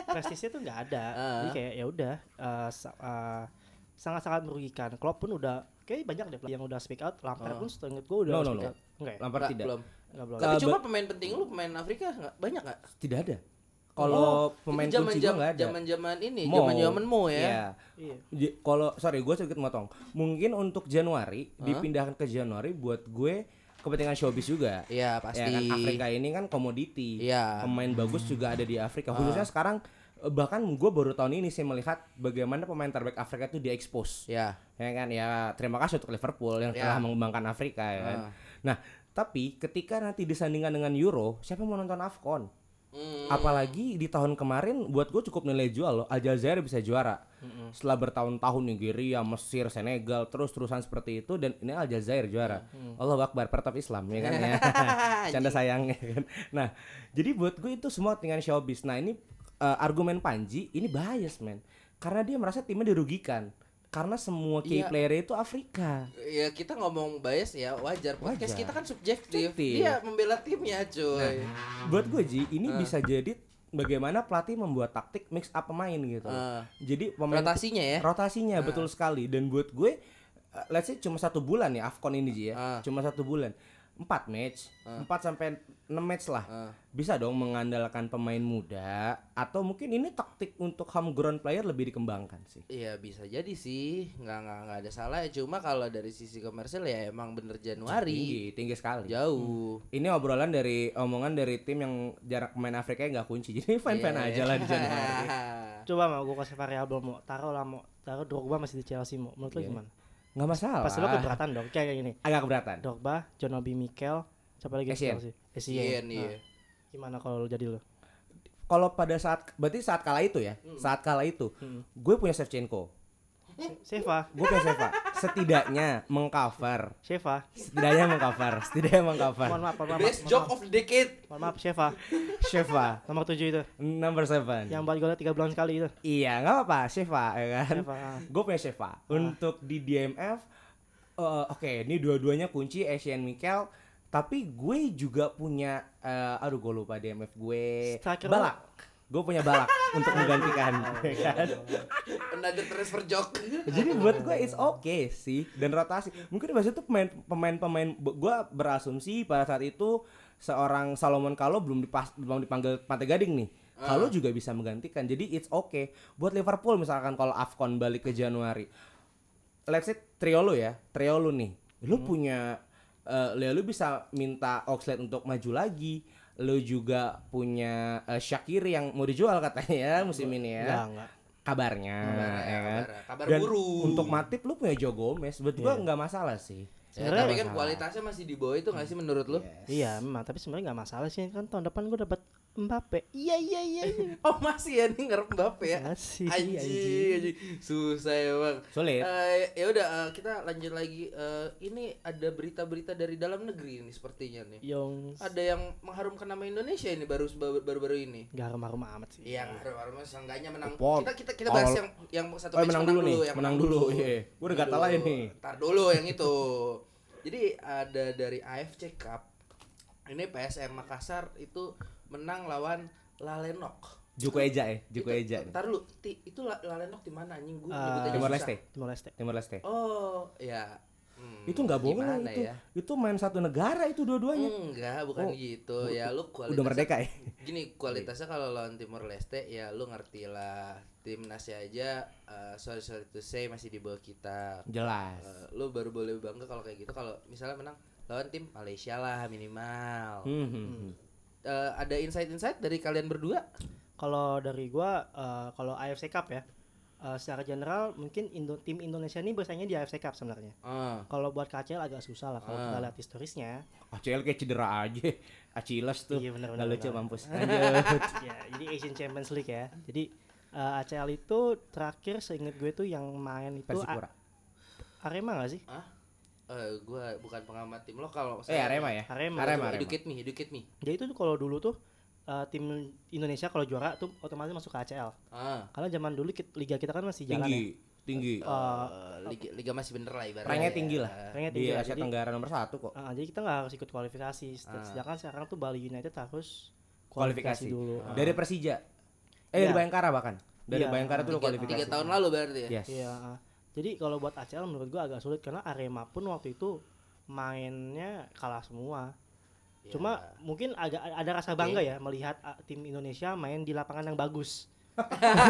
prestisnya tuh nggak ada jadi kayak ya udah eh, sa- eh, sangat-sangat merugikan Klopp pun udah kayak banyak deh yang udah speak out Lampard pun seinget gue udah
No, no,
speak
no.
out enggak ya?
Lampard
Nggak,
tidak.
belum.
enggak belum
Tapi
Sahabat-
cuma pemain penting lu pemain Afrika nggak banyak nggak?
Tidak ada. Kalau pemain
Oh,
kunci gua
Itu zaman-zaman-
nggak ada.
Zaman-zaman ini,
Mo.
zaman-zaman Mo ya.
Iya.
J- Kalau sorry gue sedikit motong. Mungkin untuk Januari dipindahkan ke Januari buat gue kepentingan showbiz juga.
Iya, pasti.
Ya kan Afrika ini kan komoditi.
Iya. Ah.
Pemain bagus juga ada di Afrika. Khususnya sekarang eh, bahkan gue baru tahun ini sih melihat bagaimana pemain terbaik Afrika itu diekspos.
Ya.
Ya kan ya terima kasih untuk Liverpool yang
Ya.
telah mengembangkan Afrika ya kan. Nah, tapi ketika nanti disandingkan dengan Euro, siapa mau nonton AFCON?
Hmm.
Apalagi di tahun kemarin buat gue cukup nilai jual loh. Aljazair bisa juara. Setelah bertahun-tahun Nigeria, Mesir, Senegal terus-terusan seperti itu dan ini Aljazair juara. Allah Akbar, pertap Islam ya kan ya. Canda sayang ya kan. Nah, jadi buat gue itu semua dengan showbiz. Nah, ini eh, argumen Panji ini bias men. Karena dia merasa timnya dirugikan. Karena semua key
Iya.
player itu Afrika.
Ya kita ngomong bias ya wajar. Podcast
Wajar.
kita kan subjektif.
Subjektif. Nah.
Dia membela timnya, cuy. Eh.
Buat gue Ji, ini bisa jadi bagaimana pelatih membuat taktik mix up pemain gitu.
Eh,
Jadi pemain
rotasinya ya.
rotasinya betul sekali dan buat gue uh, let's say cuma satu bulan ya Afcon ini Ji ya.
Ah.
Cuma satu bulan. Empat match, empat sampai enam match lah.
Ah.
Bisa dong mengandalkan pemain muda atau mungkin ini taktik untuk homegrown player lebih dikembangkan sih.
Iya bisa jadi sih, nggak nggak nggak ada salah. ya. Cuma kalau dari sisi komersil ya emang bener Januari
Tinggi, tinggi sekali.
Ya. jauh.
Ini obrolan dari omongan dari tim yang jarak main Afrika nggak kunci. Jadi fan-fan
Iya.
aja lah di Januari.
Coba mau gue kasih variabel mau taruh lah mau taruh Drogba masih di Chelsea mau. Menurut
Iya. Ah.
lo gimana?
Nggak masalah.
Pasti lo keberatan dong kayak kayak gini.
Agak keberatan.
Drogba, John Obi Mikel, siapa lagi di
Essien.
Chelsea?
Iya
Essien.
nih.
Nah, Gimana kalau lo jadi lo?
Kalau pada saat berarti saat kala itu ya,
Hmm.
saat kala itu, gue punya Shevchenko,
Seva,
gue punya Sheva. Setidaknya mengcover,
Seva.
setidaknya mengcover, setidaknya mengcover.
Mohon maaf, mohon Nah. maaf.
Best
mohon
joke
maaf.
of the decade.
Mohon maaf, Seva.
Sheva,
Nomor 7 itu.
number seven.
Yang buat golnya 3 bulan sekali itu.
Iya, nggak apa-apa, Sheva, ya kan?
Sheva, ah.
Gue punya Sheva. Untuk di DMF, eh, oke, ini dua-duanya kunci Asian Mikel. Tapi gue juga punya, eh, aduh gue lupa DMF gue.
Striker
balak. Gue punya balak untuk menggantikan. ya kan?
Another transfer joke.
Jadi buat gue it's okay sih dan rotasi. Mungkin bahasa itu pemain pemain pemain gue berasumsi pada saat itu seorang Salomon kalau belum dipas, belum dipanggil Pantai Gading nih. Kalau juga bisa menggantikan. Jadi it's okay buat Liverpool misalkan kalau Afcon balik ke Januari. Let's say trio lu ya, trio lu nih. Lu punya eh ya lu bisa minta Oxlade untuk maju lagi. Lu juga punya eh, Shakiri yang mau dijual katanya ya musim ini ya
Enggak, enggak.
kabarnya ya kan?
kabar- kabar Iya.
Dan
burung.
untuk Matip lu punya Joe Gomez buat gua nggak masalah sih
Ya,
Sebenarnya-
tapi kan kualitasnya masih di bawah itu nggak sih menurut lu?
Iya, memang tapi sebenarnya enggak masalah sih kan tahun depan gue dapat Mbappe. Iya, iya, iya. iya.
Oh masih ya nih ngarep Mbappe ya?
Masih,
Anjing,
anjing.
anjing. Susah emang
Sulit.
Eh, ya udah eh, kita lanjut lagi Eh, Ini ada berita-berita dari dalam negeri ini sepertinya nih
Yang
Ada yang mengharumkan nama Indonesia ini baru baru-baru ini
enggak harum-harum amat sih.
Iya, harum-harum seenggaknya menang
Pon.
Kita kita kita bahas
Awal-
yang yang satu
Oh,
match
menang dulu nih.
yang
Menang dulu, iya. Gua udah gatal aja
Dulu.
nih.
Tar dulu yang itu Jadi ada dari AFC Cup Ini PSM Makassar itu menang lawan Lalenok
Joko Eja ya Joko
Itu-
Eja Ah,
Ntar lu, ti, itu la, Lalenok di mana anjing gua
Eh,
nyebut aja
Timor
susah.
Leste
Timor Leste.
Timor Leste
Oh, ya. Hmm,
itu nggak bohong
gimana
itu
ya? Hmm,
itu main satu negara itu dua-duanya
Enggak, bukan
Oh,
gitu. Ya lu kualitas
udah merdeka ya
Gini, kualitasnya kalau lawan Timor Leste ya lu ngerti lah. Timnasnya aja eh, sorry sorry to say masih di bawah kita.
jelas
Eh, lu baru boleh bangga kalau kayak gitu kalau misalnya menang lawan tim Malaysia lah minimal.
Hmm, hmm, hmm.
Eh, ada insight-insight dari kalian berdua?
Kalau dari gua eh, kalau AFC Cup ya. eh, secara general mungkin Indo- tim Indonesia ini bersaingnya di AFC Cup sebenarnya.
Eh,
Ah.
Kalau buat KCL agak susah lah kalau
Ah.
kita lihat historisnya.
ACL kayak cedera aja Aciles tuh
Iya, benar,
Nggak
benar,
lucu
benar.
mampus lanjut
ya, jadi Asian Champions League ya. Jadi eh, ACL itu terakhir seingat gue tuh yang main itu
Persipura
A- Arema gak sih?
eh, gua bukan pengamat tim lokal
eh Arema ya
Arema.
Arema, Arema.
Educate me, educate me.
Jadi itu tuh kalau dulu tuh eh, tim Indonesia kalau juara tuh otomatis masuk ke ACL.
Ah,
Karena zaman dulu kit- liga kita kan masih jalan.
tinggi tinggi
ya. Eh,
liga, liga masih bener lah ibaratnya.
ranknya
ya.
tinggi lah di
Ranknya iya, tinggi lah,
Iya, Asia
jadi-
Tenggara nomor satu kok
eh, jadi kita nggak harus ikut kualifikasi. Sed-
Ah.
Sedangkan sekarang tuh Bali United harus
kualifikasi, Ah,
kualifikasi, dulu. Ah,
dari Persija eh dari
Iya.
Bayangkara bahkan dari
Iya.
Bayangkara tuh udah
Tiga-
kualifikasi
Tiga tahun lalu berarti ya.
yes
Iya. ah. Jadi kalau buat ACL menurut gua agak sulit karena Arema pun waktu itu mainnya kalah semua.
Ya.
Cuma mungkin agak ada rasa bangga ya melihat ah, tim Indonesia main di lapangan yang bagus.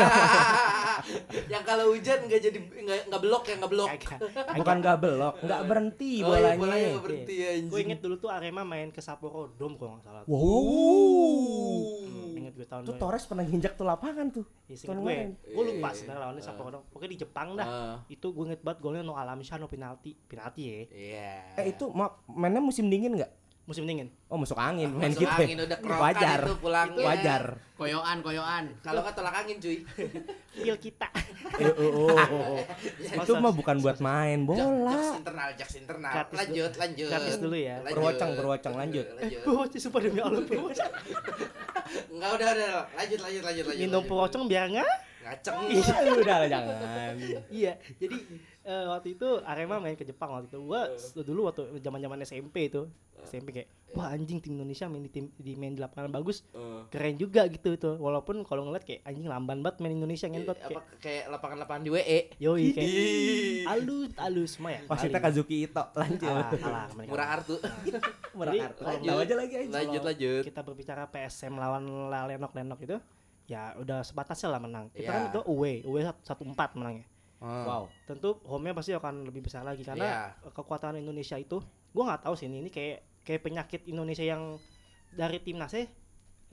yang kalau hujan nggak jadi nggak nggak belok ya nggak belok.
Kagak.
bukan nggak belok nggak berhenti
Oh, iya,
bolanya,
bolanya nggak berhenti ya.
Gue inget dulu tuh Arema main ke Sapporo Dome kalau nggak salah.
Uh.
wow
Hmm, Inget gue tahun
itu
dua-
Torres pernah nginjak tuh lapangan tuh
Iya, seinget
tahun
gue.
kemarin.
Gue lupa
Iya.
sebenarnya lawannya Sapporo Dome. Pokoknya di Jepang dah.
Ah,
Itu gue inget banget golnya no Alamsyah no penalti. Penalti ya.
Iya.
eh itu ma- mainnya musim dingin nggak
Musim dingin.
oh masuk angin main
Ah, Masuk
kita
angin udah kerokan
wajar
itu pulangnya.
wajar
Koyoan, koyoan.
Kalau nggak tolak angin cuy.
Pil kita.
Eh, oh, oh, oh, oh. itu
Sponsor.
mah bukan buat main
Jaks
bola
internal, jaks internal.
Gratis
lanjut,
dulu.
lanjut.
Gratis dulu ya.
Lanjut.
Berwacang, berwacang, lanjut.
lanjut.
Bocah sumpah demi Allah bocah.
Enggak udah udah. Lanjut, lanjut, lanjut, lanjut.
Minum
lanjut.
perocong biar nggak?
ngaceng
Iya, udah lah jangan.
iya jadi eh, waktu itu Arema main ke Jepang waktu itu gua s-
Eh.
dulu waktu zaman zaman SMP itu SMP kayak wah anjing tim Indonesia main di tim di main di lapangan bagus
Eh,
keren juga gitu tuh walaupun kalau ngeliat kayak anjing lamban banget main Indonesia ngentot
Iya, eh, apa
kayak
kayak lapangan-lapangan di E, WE
yoi kayak
Ih. Oh,
alus alus mah ya
Wasita
paling.
Kazuki Ito lanjut.
Alah, alah, mereka.
murah artu
Murah
Jadi,
kartu.
kalau
Tahu aja lagi aja.
Ah. lanjut
Kalau
lanjut
kita berbicara PSM lawan La- Lenok Lenok itu ya udah sebatasnya lah menang kita
Iya.
kan itu away away sat- satu empat menangnya
Wow.
tentu home-nya pasti akan lebih besar lagi
Iya.
karena kekuatan Indonesia itu gua nggak tahu sih ini, ini kayak kayak penyakit Indonesia yang dari timnasnya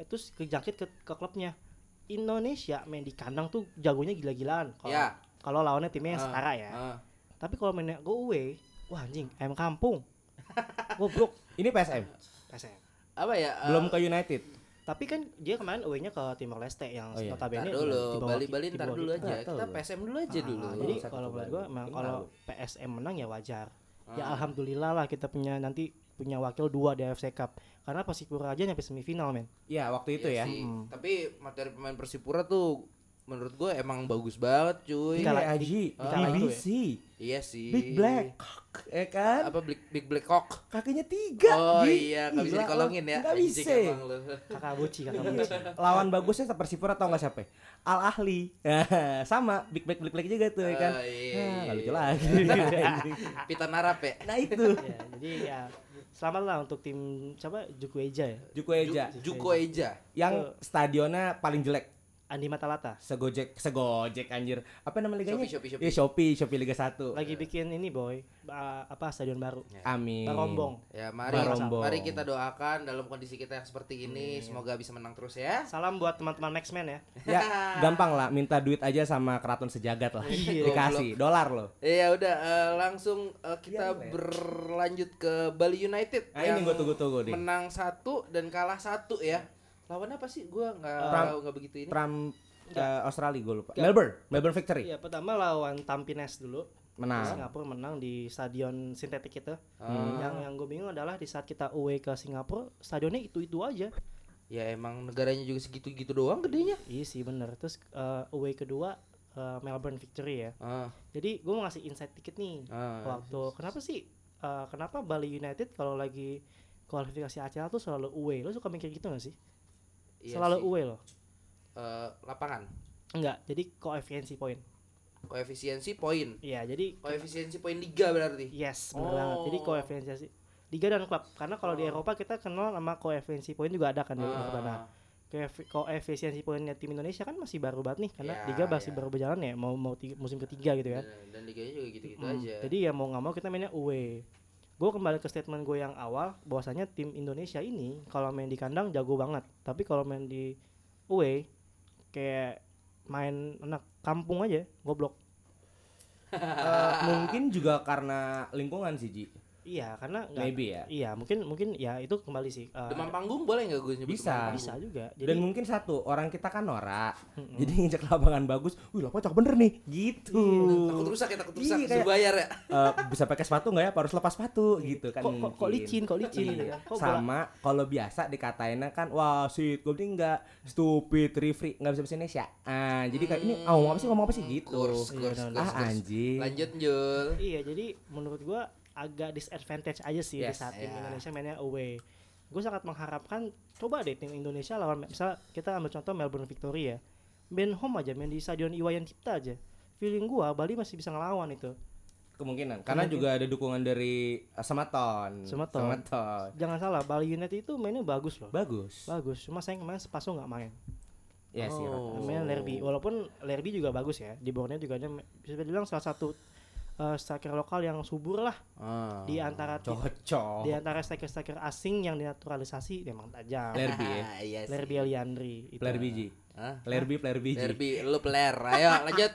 itu kejangkit ke, ke klubnya Indonesia main di kandang tuh jagonya gila-gilaan kalau
ya
kalau lawannya timnya yang
Ah,
setara ya
eh.
tapi kalau mainnya go away wah anjing ayam kampung goblok
Ini PSM,
PSM
apa ya eh,
belum ke United.
tapi kan dia kemarin away-nya ke Timor Leste yang
Oh iya.
Ntar
notabene
dulu,
di bawah-
Bali-Bali
di
ntar
bawah
dulu
kita.
aja.
Nggak tahu
Kita
gua.
PSM dulu aja
Ah,
dulu.
Jadi
Satu
kalau menurut gua
bulan.
memang
Ini
kalau
tahu.
PSM menang ya wajar. Ya
Ah.
alhamdulillah lah kita punya nanti punya wakil dua di AFC Cup. Karena Persipura aja nyampe semifinal men.
Iya, waktu itu ya.
Iya sih.
Mm.
Tapi materi pemain Persipura tuh menurut gue emang bagus banget cuy.
Dikala-
Aji,
di- dikala itu ya.
BBC,
Iya sih.
Big Black, ya kan?
Apa Big, Big Black Hawk?
Kakinya tiga.
oh
Ji.
iya, nggak bisa
Gila,
dikolongin ya.
Nggak
Anjing
bisa. Iya
emang lu.
Kakak Boci, kakak Boci.
Lawan bagusnya tetap Persipura tau nggak siapa? Al Ahli. Sama, Big Black Big Black juga tuh ya kan.
Oh,
Ah,
iya, iya,
nggak lucu
iya.
lagi.
Pita narap ya.
nah itu.
ya, jadi ya selamat lah untuk tim siapa Jukweja ya.
Juku Eja,
Ju- Juko Eja.
yang stadionnya paling jelek.
Andi Matalata
Segojek, segojek anjir. Apa nama liganya?
Shopee, Shopee, Shopee.
Iya, Shopee, Shopee Liga 1.
lagi bikin ini boy ba- apa stadion baru.
Amin.
Barombong.
Ya mari
Barombong.
mari kita doakan dalam kondisi kita yang seperti ini semoga bisa menang terus ya.
Salam buat teman-teman Maxman ya.
Ya, gampang lah minta duit aja sama keraton sejagat lah.
Iya.
Dikasih dolar loh.
Ya udah eh, langsung eh,
Iya,
kita
Le.
berlanjut ke Bali United
Ah, ini gua tunggu-tunggu nih. Iya.
menang satu dan kalah satu ya. Lawan apa sih? Gua nggak
Pram-
tahu nggak begitu ini.
Trump eh, Australia gue lupa. Melbourne, Melbourne Victory.
Iya pertama lawan Tampines dulu.
Menang.
Singapura menang Hmm. di stadion sintetik itu. Yang yang gue bingung adalah di saat kita away ke Singapura, stadionnya itu-itu aja.
Ya emang negaranya juga segitu-gitu doang gedenya.
Iya sih bener. Terus eh, away kedua eh, Melbourne Victory ya.
Ah,
Jadi gue mau ngasih insight dikit nih.
ah.
Waktu kenapa sih eh, kenapa Bali United kalau lagi kualifikasi ACL tuh selalu away? Lo suka mikir gitu gak sih?
Iya
selalu
sih.
away loh.
Eh, lapangan.
Enggak. Jadi koefisiensi poin.
Koefisiensi poin.
Iya. Jadi
Koefisiensi poin liga
Iya,
berarti.
Yes, benar banget. Jadi
Oh.
koefisiensi liga dan klub. Karena kalau di
Oh.
Eropa kita kenal sama koefisiensi poin juga ada kan di Eropa. Nah,
Ah,
koef- koefisiensi poinnya tim Indonesia kan masih baru banget nih karena
Ya,
liga masih
ya.
baru berjalan ya mau mau tiga- musim ketiga gitu
ya.
kan.
dan, dan liganya juga Iya, gitu-gitu
Hmm,
Mm,
aja.
Jadi ya mau nggak mau kita mainnya away. Gue kembali ke statement gue yang awal bahwasanya tim Indonesia ini kalau main di kandang jago banget, tapi kalau main di away kayak main anak kampung aja goblok.
Eh, mungkin juga karena lingkungan sih Ji.
Iya, karena nggak-
Maybe ya.
Iya, mungkin mungkin ya itu kembali sih. eh,
demam panggung boleh nggak gue nyebut
Bisa.
demam panggung?
bisa juga. Jadi
Dan mungkin satu, orang kita kan norak. Jadi injak lapangan bagus, wih lapangan cakep bener nih, gitu.
Iya,
Takut rusak ya, takut rusak.
Iya,
Suruh
kayak-
bayar ya.
Eh, bisa pakai sepatu nggak ya? Apa Harus lepas sepatu gitu kan.
Iya. kok, kok, kok
mungkin.
licin kok licin gitu
Iya.
kan. Kok bola-
Sama kalau biasa dikatainnya kan wah shit gue ini enggak stupid refri nggak bisa bahasa Indonesia. Ah, jadi kayak
Hmm.
ini ah, ngomong apa sih ngomong apa sih gitu.
Iya,
Kurs, kurs,
benar,
kurs,
ah
kurs.
anjing.
Lanjut Jul.
iya jadi menurut gua agak disadvantage aja sih di
Yes,
saat tim
iya.
Indonesia mainnya away gue sangat mengharapkan coba deh tim Indonesia lawan misal kita ambil contoh Melbourne Victory ya main home aja main di stadion Iwayan Cipta aja feeling gua Bali masih bisa ngelawan itu
Kemungkinan karena juga ada dukungan dari eh, Sematon.
Sematon. jangan salah Bali United itu mainnya bagus loh
Bagus.
bagus cuma sayang kemarin Sepaso nggak main
Iya sih. Rat.
Oh.
main Lerby walaupun Lerby juga bagus ya di Borneo juga dia bisa dibilang salah satu eh, striker lokal yang subur lah
Ah.
di antara tim-
Cocok.
di antara striker-striker asing yang dinaturalisasi memang tajam.
Ler- Lerby ya?
Ah, iya sih.
Lerby Eliandri itu.
Player biji.
Hah?
Player B, player biji.
Derby, lu peler. Ayo lanjut.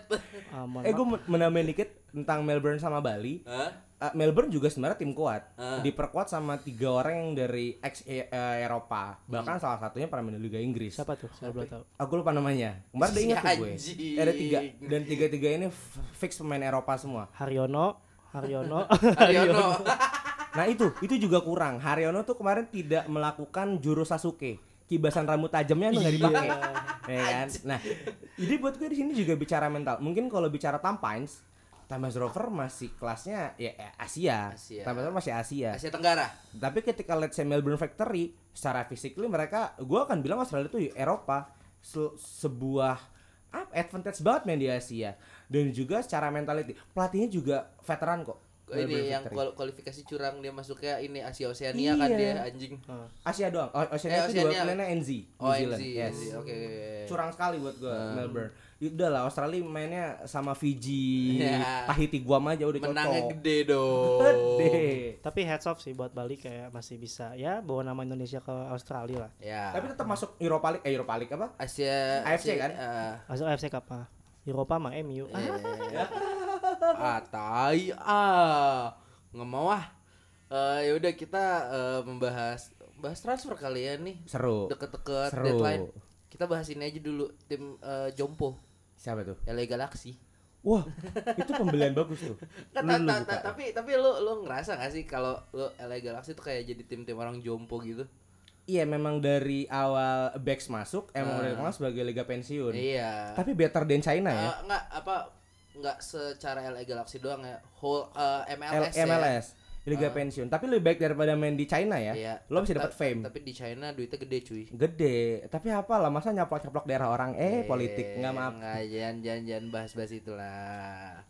Ah, mohon
Eh
maaf.
gue menambahin dikit tentang Melbourne sama Bali.
Hah?
Eh, Melbourne juga sebenarnya tim kuat,
Ah.
diperkuat sama tiga orang yang dari ex eh, eh, Eropa, bahkan salah satunya pernah main di Liga Inggris.
siapa tuh? Saya belum tahu.
Aku lupa namanya. Kemarin udah
Si
ingat tuh gue.
anjing.
Eh, Ada tiga dan tiga tiga ini f- fix pemain Eropa semua.
Haryono, Haryono.
Aryono.
Nah itu itu juga kurang.
Iya.
Haryono tuh kemarin tidak melakukan jurus Sasuke. Kibasan rambut tajamnya tuh nggak dipakai. ya kan? Nah, jadi buat gue di sini juga bicara mental. Mungkin kalau bicara Tampines, Tampines Rover masih kelasnya ya eh, Asia.
Asia.
Tampines Rover masih Asia.
Asia Tenggara.
Tapi ketika let's say Melbourne Factory, secara physically mereka, gue akan bilang Australia itu Eropa Se- sebuah apa, advantage banget main di Asia. Dan juga secara mentality, pelatihnya juga veteran kok. Melbourne
ini yang
Factory.
kual- kualifikasi curang dia masuknya ini Asia Oceania kan
Iya.
dia anjing.
Asia doang. O- Oceania
Eh,
itu
Oceania.
dua planetnya NZ, New
Oh,
Zealand.
NZ.
Yes.
Oke. Hmm.
Curang sekali buat gue Melbourne. Ya Udah lah Australia mainnya sama Fiji,
Ya.
Tahiti, Guam aja udah
Menangnya
cocok.
gede Iya. dong.
Gede.
Tapi heads off sih buat Bali kayak masih bisa ya bawa nama Indonesia ke Australia lah.
Ya.
Tapi tetap masuk Europa League, eh Europa League apa?
Asia
AFC kan?
eh,
Masuk AFC Cup ah. Eropa mah MU.
Iya.
Ah,
ah, tai ah. Nggak mau ah. Eh, ya udah kita eh, membahas bahas transfer kali ya nih.
Seru.
Deket-deket
Seru.
deadline. Kita bahas ini aja dulu tim eh, Jompo
Siapa tuh?
LA Galaxy.
Wah, itu pembelian bagus tuh.
Nggak,
Lu-
ta-
lu
ta-
buka.
ta- tapi tapi lu lu ngerasa gak sih kalau lu LA Galaxy tuh kayak jadi tim-tim orang jompo gitu?
Iya, memang dari awal Bex masuk emang
Ah.
udah dikenal sebagai liga pensiun.
Iya.
Tapi better than China ya.
Eh, nggak apa nggak secara LA Galaxy doang ya. Whole eh,
L-
MLS, ya. Hmm.
MLS, liga pensiun. Tapi lebih baik daripada main di China ya.
Iya.
Lo bisa
Ta-
dapat fame. Eh,
Tapi di China duitnya gede cuy. Iya.
Gede, tapi apalah masa nyaplok-nyaplok daerah orang eh politik nggak maaf.
Nggak, jangan jangan jangan bahas-bahas itulah.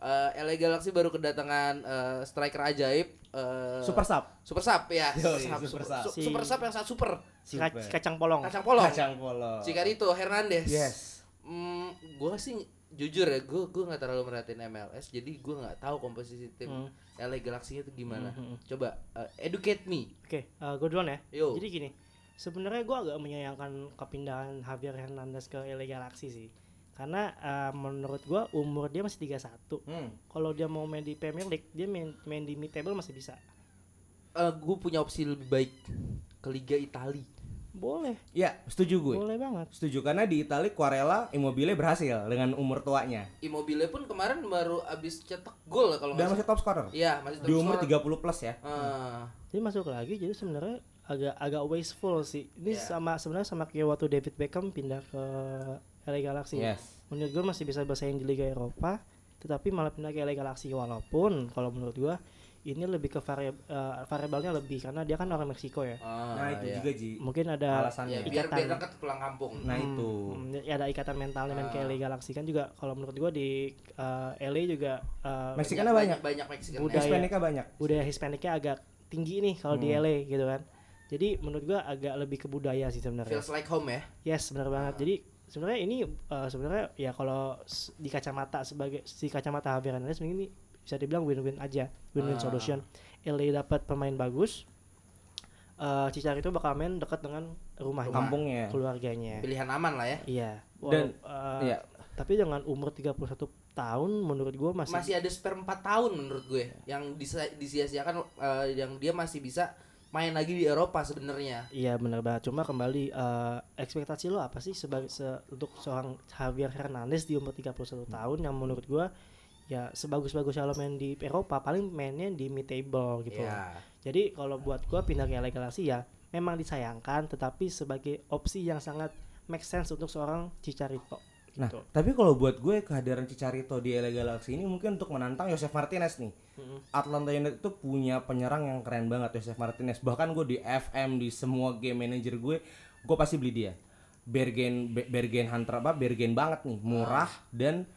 Eh LA Galaxy baru kedatangan eh, striker ajaib eh,
Super sub.
Super Sub ya.
Yoi,
Sub,
Super
Super,
Sub.
Su- Super Sub yang sangat super.
si kac-
Super.
kacang polong.
Kacang polong.
Kacang polong.
Cicarito Hernandez.
Yes.
Hmm, gue sih jujur ya, gue gue nggak terlalu merhatiin MLS, jadi gue nggak tahu komposisi tim
Hmm.
LA Galaxy itu gimana. Coba uh, educate me.
Oke, eh, gue duluan ya.
Yo.
Jadi gini, sebenarnya gue agak menyayangkan kepindahan Javier Hernandez ke LA Galaxy sih. Karena eh, menurut gue umur dia masih 31.
Hmm.
Kalau dia mau main di Premier League, dia main, main di mid table masih bisa.
gue Eh, punya opsi lebih baik ke Liga Itali.
Boleh,
Ya, setuju gue.
boleh banget.
Setuju karena di Italia Quarella Immobile berhasil dengan umur tuanya.
Immobile pun kemarin baru abis cetak gol ya, kalau
Dan
nggak
masih
salah.
top scorer.
Iya masih
Di umur
scorer.
30 plus ya.
Ah,
Jadi masuk lagi, jadi sebenarnya agak agak wasteful sih.
Ya.
Ini
Yeah.
sama sebenarnya sama kayak waktu David Beckham pindah ke LA Galaxy. ya.
Yes.
Menurut gue masih bisa bersaing di Liga Eropa, tetapi malah pindah ke LA Galaxy walaupun kalau menurut gue ini lebih ke variab- eh, variabelnya lebih karena dia kan orang Meksiko ya.
ah,
Nah, itu
iya.
juga Ji.
Mungkin ada
Alasannya.
Ya,
Iya.
biar biar
Ikatan.
dekat pulang kampung.
Nah, itu. Ah.
Hmm, ya ada ikatan mentalnya main ke LA Galaxy kan juga kalau menurut gue di eh, LA juga eh,
Meksikannya
banyak
banyak.
banyak Mexican.
Budaya.
Hispanicnya banyak.
budaya Hispanicnya agak tinggi nih kalau di
Hmm.
LA gitu kan. Jadi menurut gua agak lebih ke budaya sih sebenarnya.
Feels like home ya.
Yes, benar banget. Jadi sebenarnya ini eh, sebenarnya ya kalau s- di kacamata sebagai si kacamata Javier Hernandez mungkin ini bisa dibilang win-win aja, win-win
Ah.
solution. LA dapat pemain bagus. eh Cicar itu bakal main dekat dengan rumahnya,
Kampungnya.
keluarganya.
Pilihan aman lah ya.
Iya.
Dan-
Walau, eh,
iya.
tapi dengan umur 31 tahun menurut gua masih,
masih ada spare 4 tahun menurut gue
Iya.
yang disa- disia-siakan eh, yang dia masih bisa main lagi di Eropa sebenarnya.
Iya benar banget. Cuma kembali eh, ekspektasi lo apa sih sebagai se- untuk seorang Javier Hernandez di umur 31
Hmm.
tahun yang menurut gua ya sebagus-bagus lo main di Eropa paling mainnya di mid table gitu. loh.
Iya.
Jadi kalau buat gua pindah ke LA Galaxy ya memang disayangkan tetapi sebagai opsi yang sangat make sense untuk seorang Cicarito
Nah,
gitu.
tapi kalau buat gue kehadiran Cicarito di LA Galaxy ini mungkin untuk menantang Joseph Martinez nih. Atlanta United itu punya penyerang yang keren banget Joseph Martinez. Bahkan gue di FM di semua game manager gue, gue pasti beli dia. Bergen Be- Bergen Hunter apa Bergen banget nih, murah dan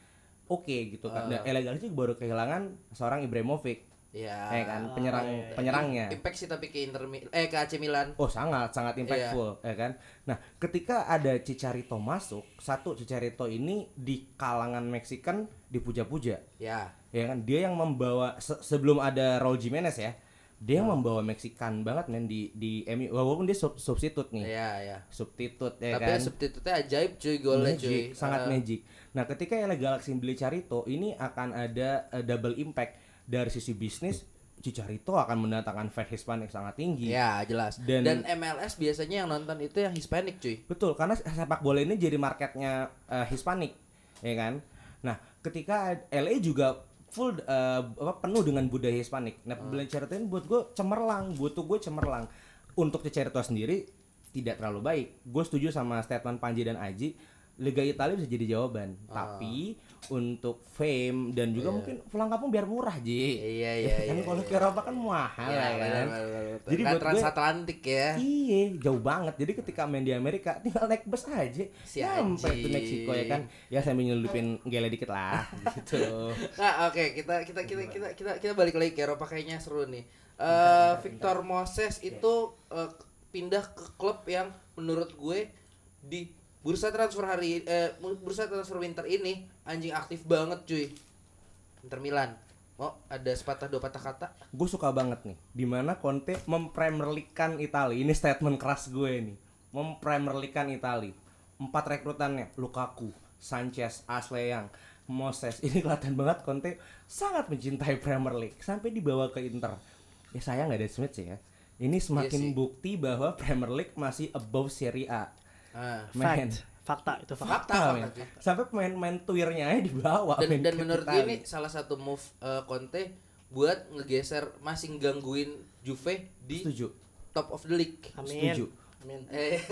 oke gitu kan. Dan LA Galaxy baru kehilangan seorang Ibrahimovic.
Iya.
ya kan, ya? penyerang penyerangnya.
Impact sih tapi ke Inter Mi- eh ke AC Milan.
Oh sangat
Iya.
sangat impactful ya kan. Nah ketika ada Cicarito masuk, satu Cicarito ini di kalangan Meksikan dipuja-puja,
Ya.
ya kan. Dia yang membawa se- sebelum ada Raul Jimenez ya, dia
Hmm.
yang membawa Meksikan banget men di di MU. Walaupun dia sub- substitut nih,
Iya, ya.
substitut ya
tapi
kan.
substitutnya ajaib cuy golnya
Magic,
cuy.
sangat
Eh,
magic. Nah, ketika LA Galaxy beli Carito, ini akan ada eh, double impact dari sisi bisnis. Cicarito akan mendatangkan fan Hispanik sangat tinggi.
Ya, jelas. Dan,
Dan-
MLS biasanya yang nonton itu yang Hispanic cuy.
Betul, karena sepak bola ini jadi marketnya eh, Hispanik, ya kan? Nah, ketika LA juga full eh, apa penuh dengan budaya
Hmm.
Hispanik. Nah, pembelian Cerrito ini buat gue cemerlang, butuh gue cemerlang. Untuk Cerrito sendiri tidak terlalu baik. Gue setuju sama statement Panji dan Aji. Liga Italia bisa jadi jawaban,
Ah.
tapi untuk fame dan juga mungkin pulang kampung biar murah, Ji.
Iya iya iya.
Kan kalau ke Eropa kan mahal
Iya,
ya
benar,
kan.
benar, benar, benar.
Jadi
Kan
buat gue-
transatlantik ya.
Iya, jauh banget. Jadi ketika main di Amerika, tinggal naik bus aja.
Si
Sampai
Aji.
ke Meksiko ya kan. Ya sambil nyelupin gele dikit lah gitu.
Nah, oke, kita kita kita kita kita kita balik lagi ke Eropa kayaknya seru nih. Eh Victor Moses itu eh, pindah ke klub yang menurut gue di bursa transfer hari eh bursa transfer winter ini anjing aktif banget cuy. Inter Milan. Mau ada sepatah dua patah kata?
gue suka banget nih dimana Conte mempremerlikan Itali ini statement keras gue nih mempremerlikan Itali empat rekrutannya Lukaku Sanchez Ashley Young Moses ini kelihatan banget Conte sangat mencintai Premier League sampai dibawa ke Inter ya saya nggak ada Smith sih ya ini semakin
Iya sih.
bukti bahwa Premier League masih above Serie A
Ah.
men
Fact. Fakta itu fakta.
Fakta,
Fakta, fakta,
men.
cuy.
sampai pemain-pemain tuirnya aja dibawa
dan,
men,
dan
ke
menurut gue
Itali.
ini salah satu move eh, Conte buat ngegeser masih gangguin Juve di
setuju
top of the league.
Amin.
Setuju.
Amin.
Eh,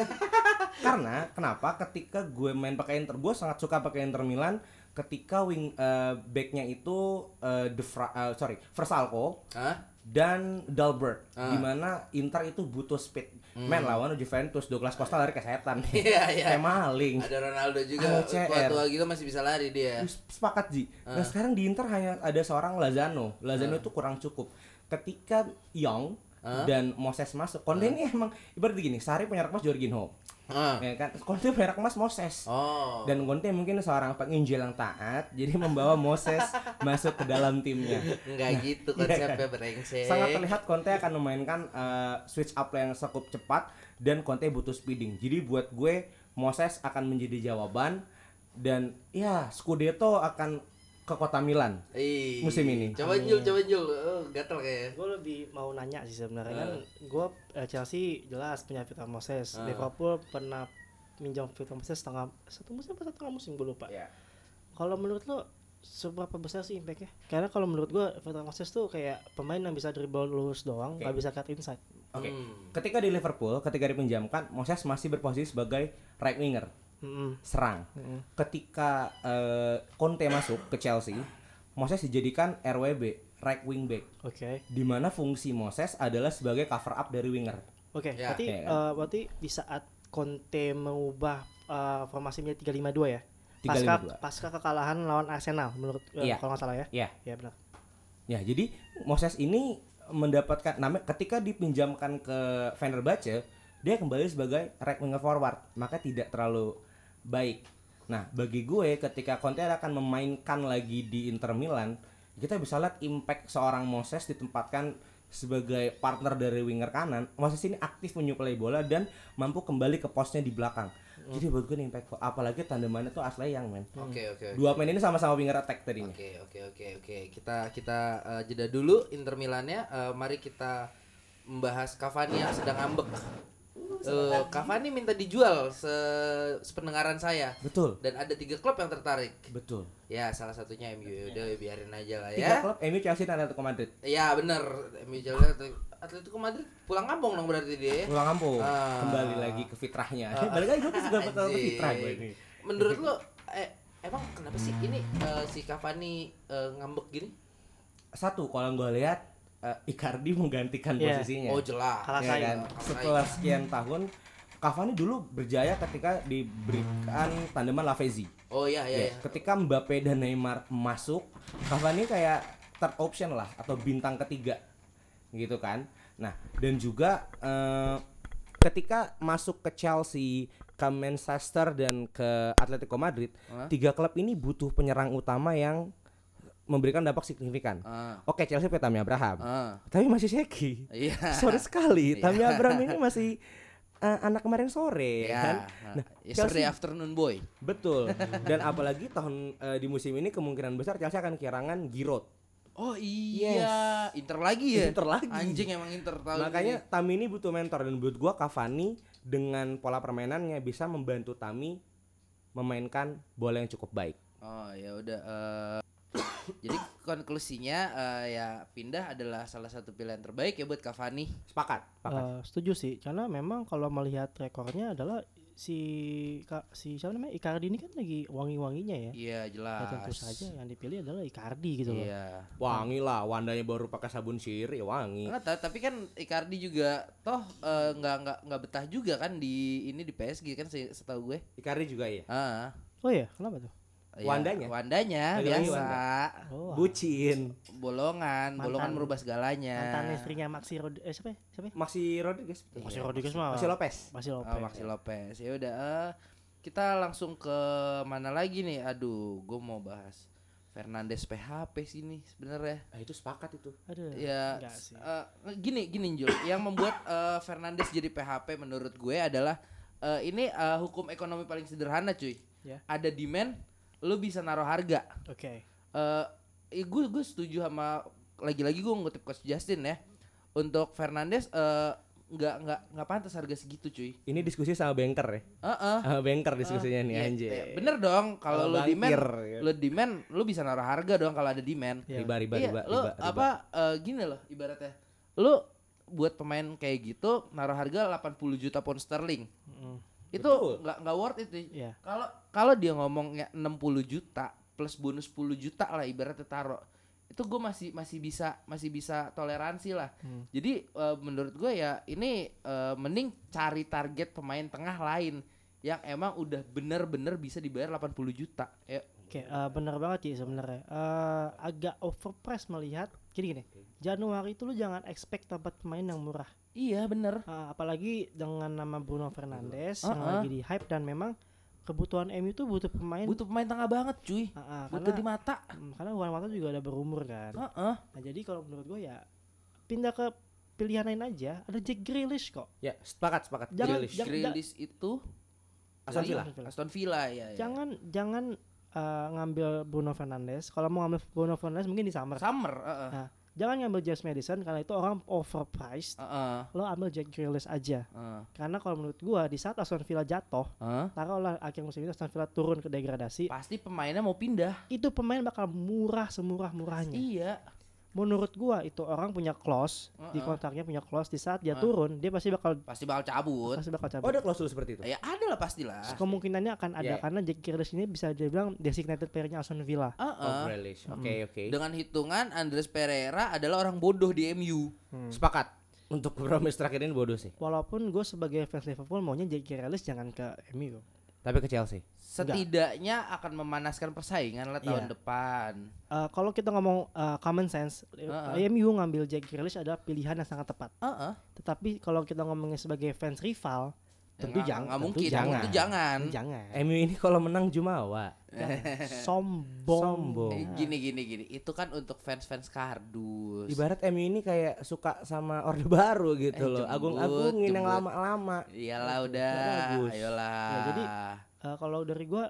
karena kenapa ketika gue main pakai Inter gue sangat suka pakai Inter Milan ketika wing eh, backnya itu eh, De Fra- eh, sorry Versalco
hah?
dan Dalbert
Ah. Hmm.
dimana Inter itu butuh speed men lawan Juventus Douglas Costa lari ke setan
Iya, iya.
kayak maling
Ada Ronaldo juga,
Ada CR.
tua-tua gitu masih bisa lari dia.
sepakat Ji nah sekarang di Inter hanya ada seorang Lazano Lazano itu kurang cukup ketika Young
Ah.
dan Moses masuk Konde ini emang ibarat gini Sari penyerang mas Jorginho
Ah.
ya kan Konde penyerang mas Moses
Oh.
dan Conte mungkin seorang penginjil yang taat jadi membawa Moses masuk ke dalam timnya
Enggak gitu konsepnya brengsek.
Iya. sangat terlihat Conte akan memainkan eh, switch up yang cukup cepat dan Conte butuh speeding jadi buat gue Moses akan menjadi jawaban dan ya Scudetto akan ke kota Milan
Ih,
musim ini.
Coba Jul, coba Jul. Oh, gatel kayaknya.
Gue lebih mau nanya sih sebenarnya kan gue Chelsea jelas punya Victor Moses, Liverpool pernah minjam Victor Moses setengah satu musim atau setengah musim gue lupa.
Ya.
Kalau menurut lo seberapa besar sih impactnya? Karena kalau menurut gue Victor Moses tuh kayak pemain yang bisa dribble lurus doang, nggak bisa cut inside.
oke
Hmm.
ketika di Liverpool ketika dipinjamkan Moses masih berposisi sebagai right winger
Mm-mm.
serang. Ketika eh, Conte masuk ke Chelsea, Moses dijadikan RWB, right wing back,
Oke,
di mana fungsi Moses adalah sebagai cover up dari winger.
oke.
Ya,
berarti
ya kan?
eh, berarti di saat Conte mengubah eh, formasi menjadi 352 ya. Pasca
352.
pasca kekalahan lawan Arsenal menurut eh,
Iya.
kalau nggak salah ya.
Ya,
Ya benar.
ya jadi Moses ini mendapatkan nama ketika dipinjamkan ke Fenerbahce, dia kembali sebagai right winger forward, maka tidak terlalu baik. Nah, bagi gue ketika Conte akan memainkan lagi di Inter Milan, kita bisa lihat impact seorang Moses ditempatkan sebagai partner dari winger kanan, Moses ini aktif menyuplai bola dan mampu kembali ke posnya di belakang. Jadi buat gue nih impact apalagi tandemannya tuh asli yang men.
Oke, oke. oke.
Dua pemain ini sama-sama winger attack tadinya.
Oke, oke, oke, oke. Kita kita eh, jeda dulu Inter Milannya. Eh, mari kita membahas Cavani yang sedang ambek.
Uh,
Eh, Cavani minta dijual se sependengaran saya.
Betul.
Dan ada tiga klub yang tertarik.
Betul.
Ya, salah satunya MU. Ya Udah biarin aja lah
Tiga
ya.
klub MU, Chelsea dan Atletico Madrid.
Iya, bener MU jauh dari Atletico Madrid pulang kampung dong berarti dia. ya?
Pulang kampung,
Ah.
kembali lagi ke fitrahnya. Balik lagi gue suka bakal ke
Anjing.
fitrah gue ini.
Menurut lo eh, emang kenapa sih ini eh, si Cavani eh, ngambek gini?
Satu, kalau gue lihat eh, Icardi menggantikan
Iya.
posisinya.
Oh, jelas.
Kalah
Ya
saing.
kan?
Kalah
Setelah sekian tahun, Cavani dulu berjaya ketika diberikan tandeman Lavezzi.
Oh iya iya.
Ya,
iya.
Ketika Mbappe dan Neymar masuk, Cavani kayak third option lah atau bintang ketiga gitu kan. Nah, dan juga eh, ketika masuk ke Chelsea, ke Manchester dan ke Atletico Madrid, tiga klub ini butuh penyerang utama yang memberikan dampak signifikan.
Ah.
Oke, Chelsea punya Tammy Abraham.
Ah.
Tapi masih shaky.
Iya.
Sorry sekali, Tammy Abraham ini masih eh, anak kemarin sore
Iya.
kan.
Nah, Yesterday afternoon boy.
Betul. Dan apalagi tahun eh, di musim ini kemungkinan besar Chelsea akan kehilangan Giroud.
Oh iya, Inter lagi ya.
Inter lagi.
Anjing emang Inter tahu.
Makanya Tami ini butuh mentor dan buat gua Cavani dengan pola permainannya bisa membantu Tami memainkan bola yang cukup baik.
Oh ya udah. eh, Jadi konklusinya eh, ya pindah adalah salah satu pilihan terbaik ya buat Cavani.
Sepakat, sepakat.
Oh.
Eh, setuju sih karena memang kalau melihat rekornya adalah si Ka- si siapa namanya Icardi ini kan lagi wangi-wanginya ya.
Iya
Ya
jelas.
tentu saja yang dipilih adalah Icardi gitu loh.
Iya.
wangi lah, Wandanya baru pakai sabun sirih, ya wangi.
Nggak tahu, tapi kan Icardi juga toh eh, nggak nggak nggak betah juga kan di ini di PSG kan se- setahu gue.
Ikari juga ya.
Ah,
Oh iya, kenapa tuh?
iya.
Wandanya?
Wandanya
Lagi-lagi
biasa. Ah,
Oh.
Bucin.
Bolongan,
Mantan-
bolongan merubah segalanya.
Mantan istrinya Maxi Rod eh siapa? ya? Siapa? ya?
Masih Rodriguez. betul?
Maxi Rodriguez mah.
Maxi Lopez.
Maxi Lopez.
Oh, Maxi Lopez. Ya udah eh, kita langsung ke mana lagi nih? Aduh, gue mau bahas Fernandes PHP sini sebenarnya.
Ah, itu sepakat itu.
Aduh.
Ya
enggak
s-
sih.
eh, gini gini Jul, yang membuat eh, Fernandes jadi PHP menurut gue adalah eh, ini eh, hukum ekonomi paling sederhana, cuy.
Ya.
Ada demand, lu bisa naruh harga.
Oke.
Eh, eh, gue gue setuju sama lagi-lagi gue ngutip coach Justin ya. Untuk Fernandes eh, nggak nggak nggak pantas harga segitu, cuy. Eh,
Ini diskusi sama banker ya.
Heeh.
Sama banker diskusinya nih
Iya,
anjir.
iya. Bener dong kalau
Kalau
lu demand,
bankir, ya.
lu demand, lu bisa naruh harga dong kalau ada demand.
Iya.
Riba, riba,
iya,
riba,
lu
riba, riba.
apa eh, gini loh ibaratnya. Lu buat pemain kayak gitu naruh harga 80 juta pound sterling.
Mm,
Itu
Betul.
nggak nggak worth itu.
Iya.
Kalau kalau dia ngomongnya 60 juta plus bonus 10 juta lah ibaratnya taruh. Itu gue masih masih bisa masih bisa toleransi lah.
Hmm.
Jadi eh, menurut gue ya ini eh, mending cari target pemain tengah lain yang emang udah bener-bener bisa dibayar 80 juta. Ya,
Oke, eh, benar banget sih sebenarnya. Eh, agak overpress melihat gini gini. Januari itu lu jangan expect dapat pemain yang murah.
iya bener.
Eh, apalagi dengan nama Bruno Fernandes yang
Uh-uh.
lagi di hype dan memang kebutuhan MU itu butuh pemain.
Butuh pemain tengah banget cuy.
Ah, ah,
Butuh di
karena
mata.
mm, karena Juan Mata juga udah berumur kan.
Heeh.
Nah, jadi kalau menurut gue ya pindah ke pilihan lain aja. Ada Jack Grealish kok.
Ya, sepakat, sepakat.
Jangan-
Grealish.
jangan-
Grealish itu
Aston Villa.
dari Aston Villa ya. ya.
Jangan jangan eh, ngambil Bruno Fernandes. Kalau mau ngambil Bruno Fernandes mungkin di summer.
Summer. heeh.
Nah, jangan ngambil James Madison karena itu orang overpriced.
Heeh,
Lo ambil Jack Grealish aja.
heeh.
Karena kalau menurut gua di saat Aston Villa jatuh,
Heeh.
taruhlah akhir musim ini Aston Villa turun ke degradasi,
Pasti pemainnya mau pindah.
itu pemain bakal murah semurah-murahnya.
Iya.
Menurut gua itu orang punya clause di
Uh-uh.
kontraknya punya clause di saat dia
Uh.
turun, dia pasti bakal
Pasti bakal cabut.
pasti bakal cabut.
Oh, ada klausul seperti itu.
Ya ada lah pastilah.
Kemungkinannya akan ada
Yeah.
Iya.
karena Jack Grealish ini bisa dibilang designated player-nya Aston Villa.
Oh,
Heeh.
Grealish. Oke, oke.
Dengan hitungan Andres Pereira adalah orang bodoh di MU.
Sepakat. Hmm. Untuk beberapa match terakhir ini bodoh sih.
Walaupun gue sebagai fans Liverpool maunya Jack Grealish jangan ke MU.
Tapi ke Chelsea.
setidaknya akan memanaskan persaingan lah tahun
Iya.
depan.
Eh, kalau kita ngomong eh, common sense,
Uh-uh.
MU ngambil Jack Grealish adalah pilihan yang sangat tepat.
Heeh.
Tetapi kalau kita ngomongnya sebagai fans rival, tentu jangan.
Enggak
tentu
mungkin.
jangan.
Tentu jangan.
Tentu jangan.
Eh.
MU ini kalau menang Jumawa.
Jangan. Sombong.
Sombong.
Eh, Gini gini gini. Itu kan untuk fans-fans kardus.
Ibarat MU ini kayak suka sama Orde Baru gitu
Eh,
loh.
jembut,
Agung-agungin yang
jembut.
lama-lama.
Iyalah
Bagus.
udah. Ayolah.
Ya, jadi, Eh, kalau dari gua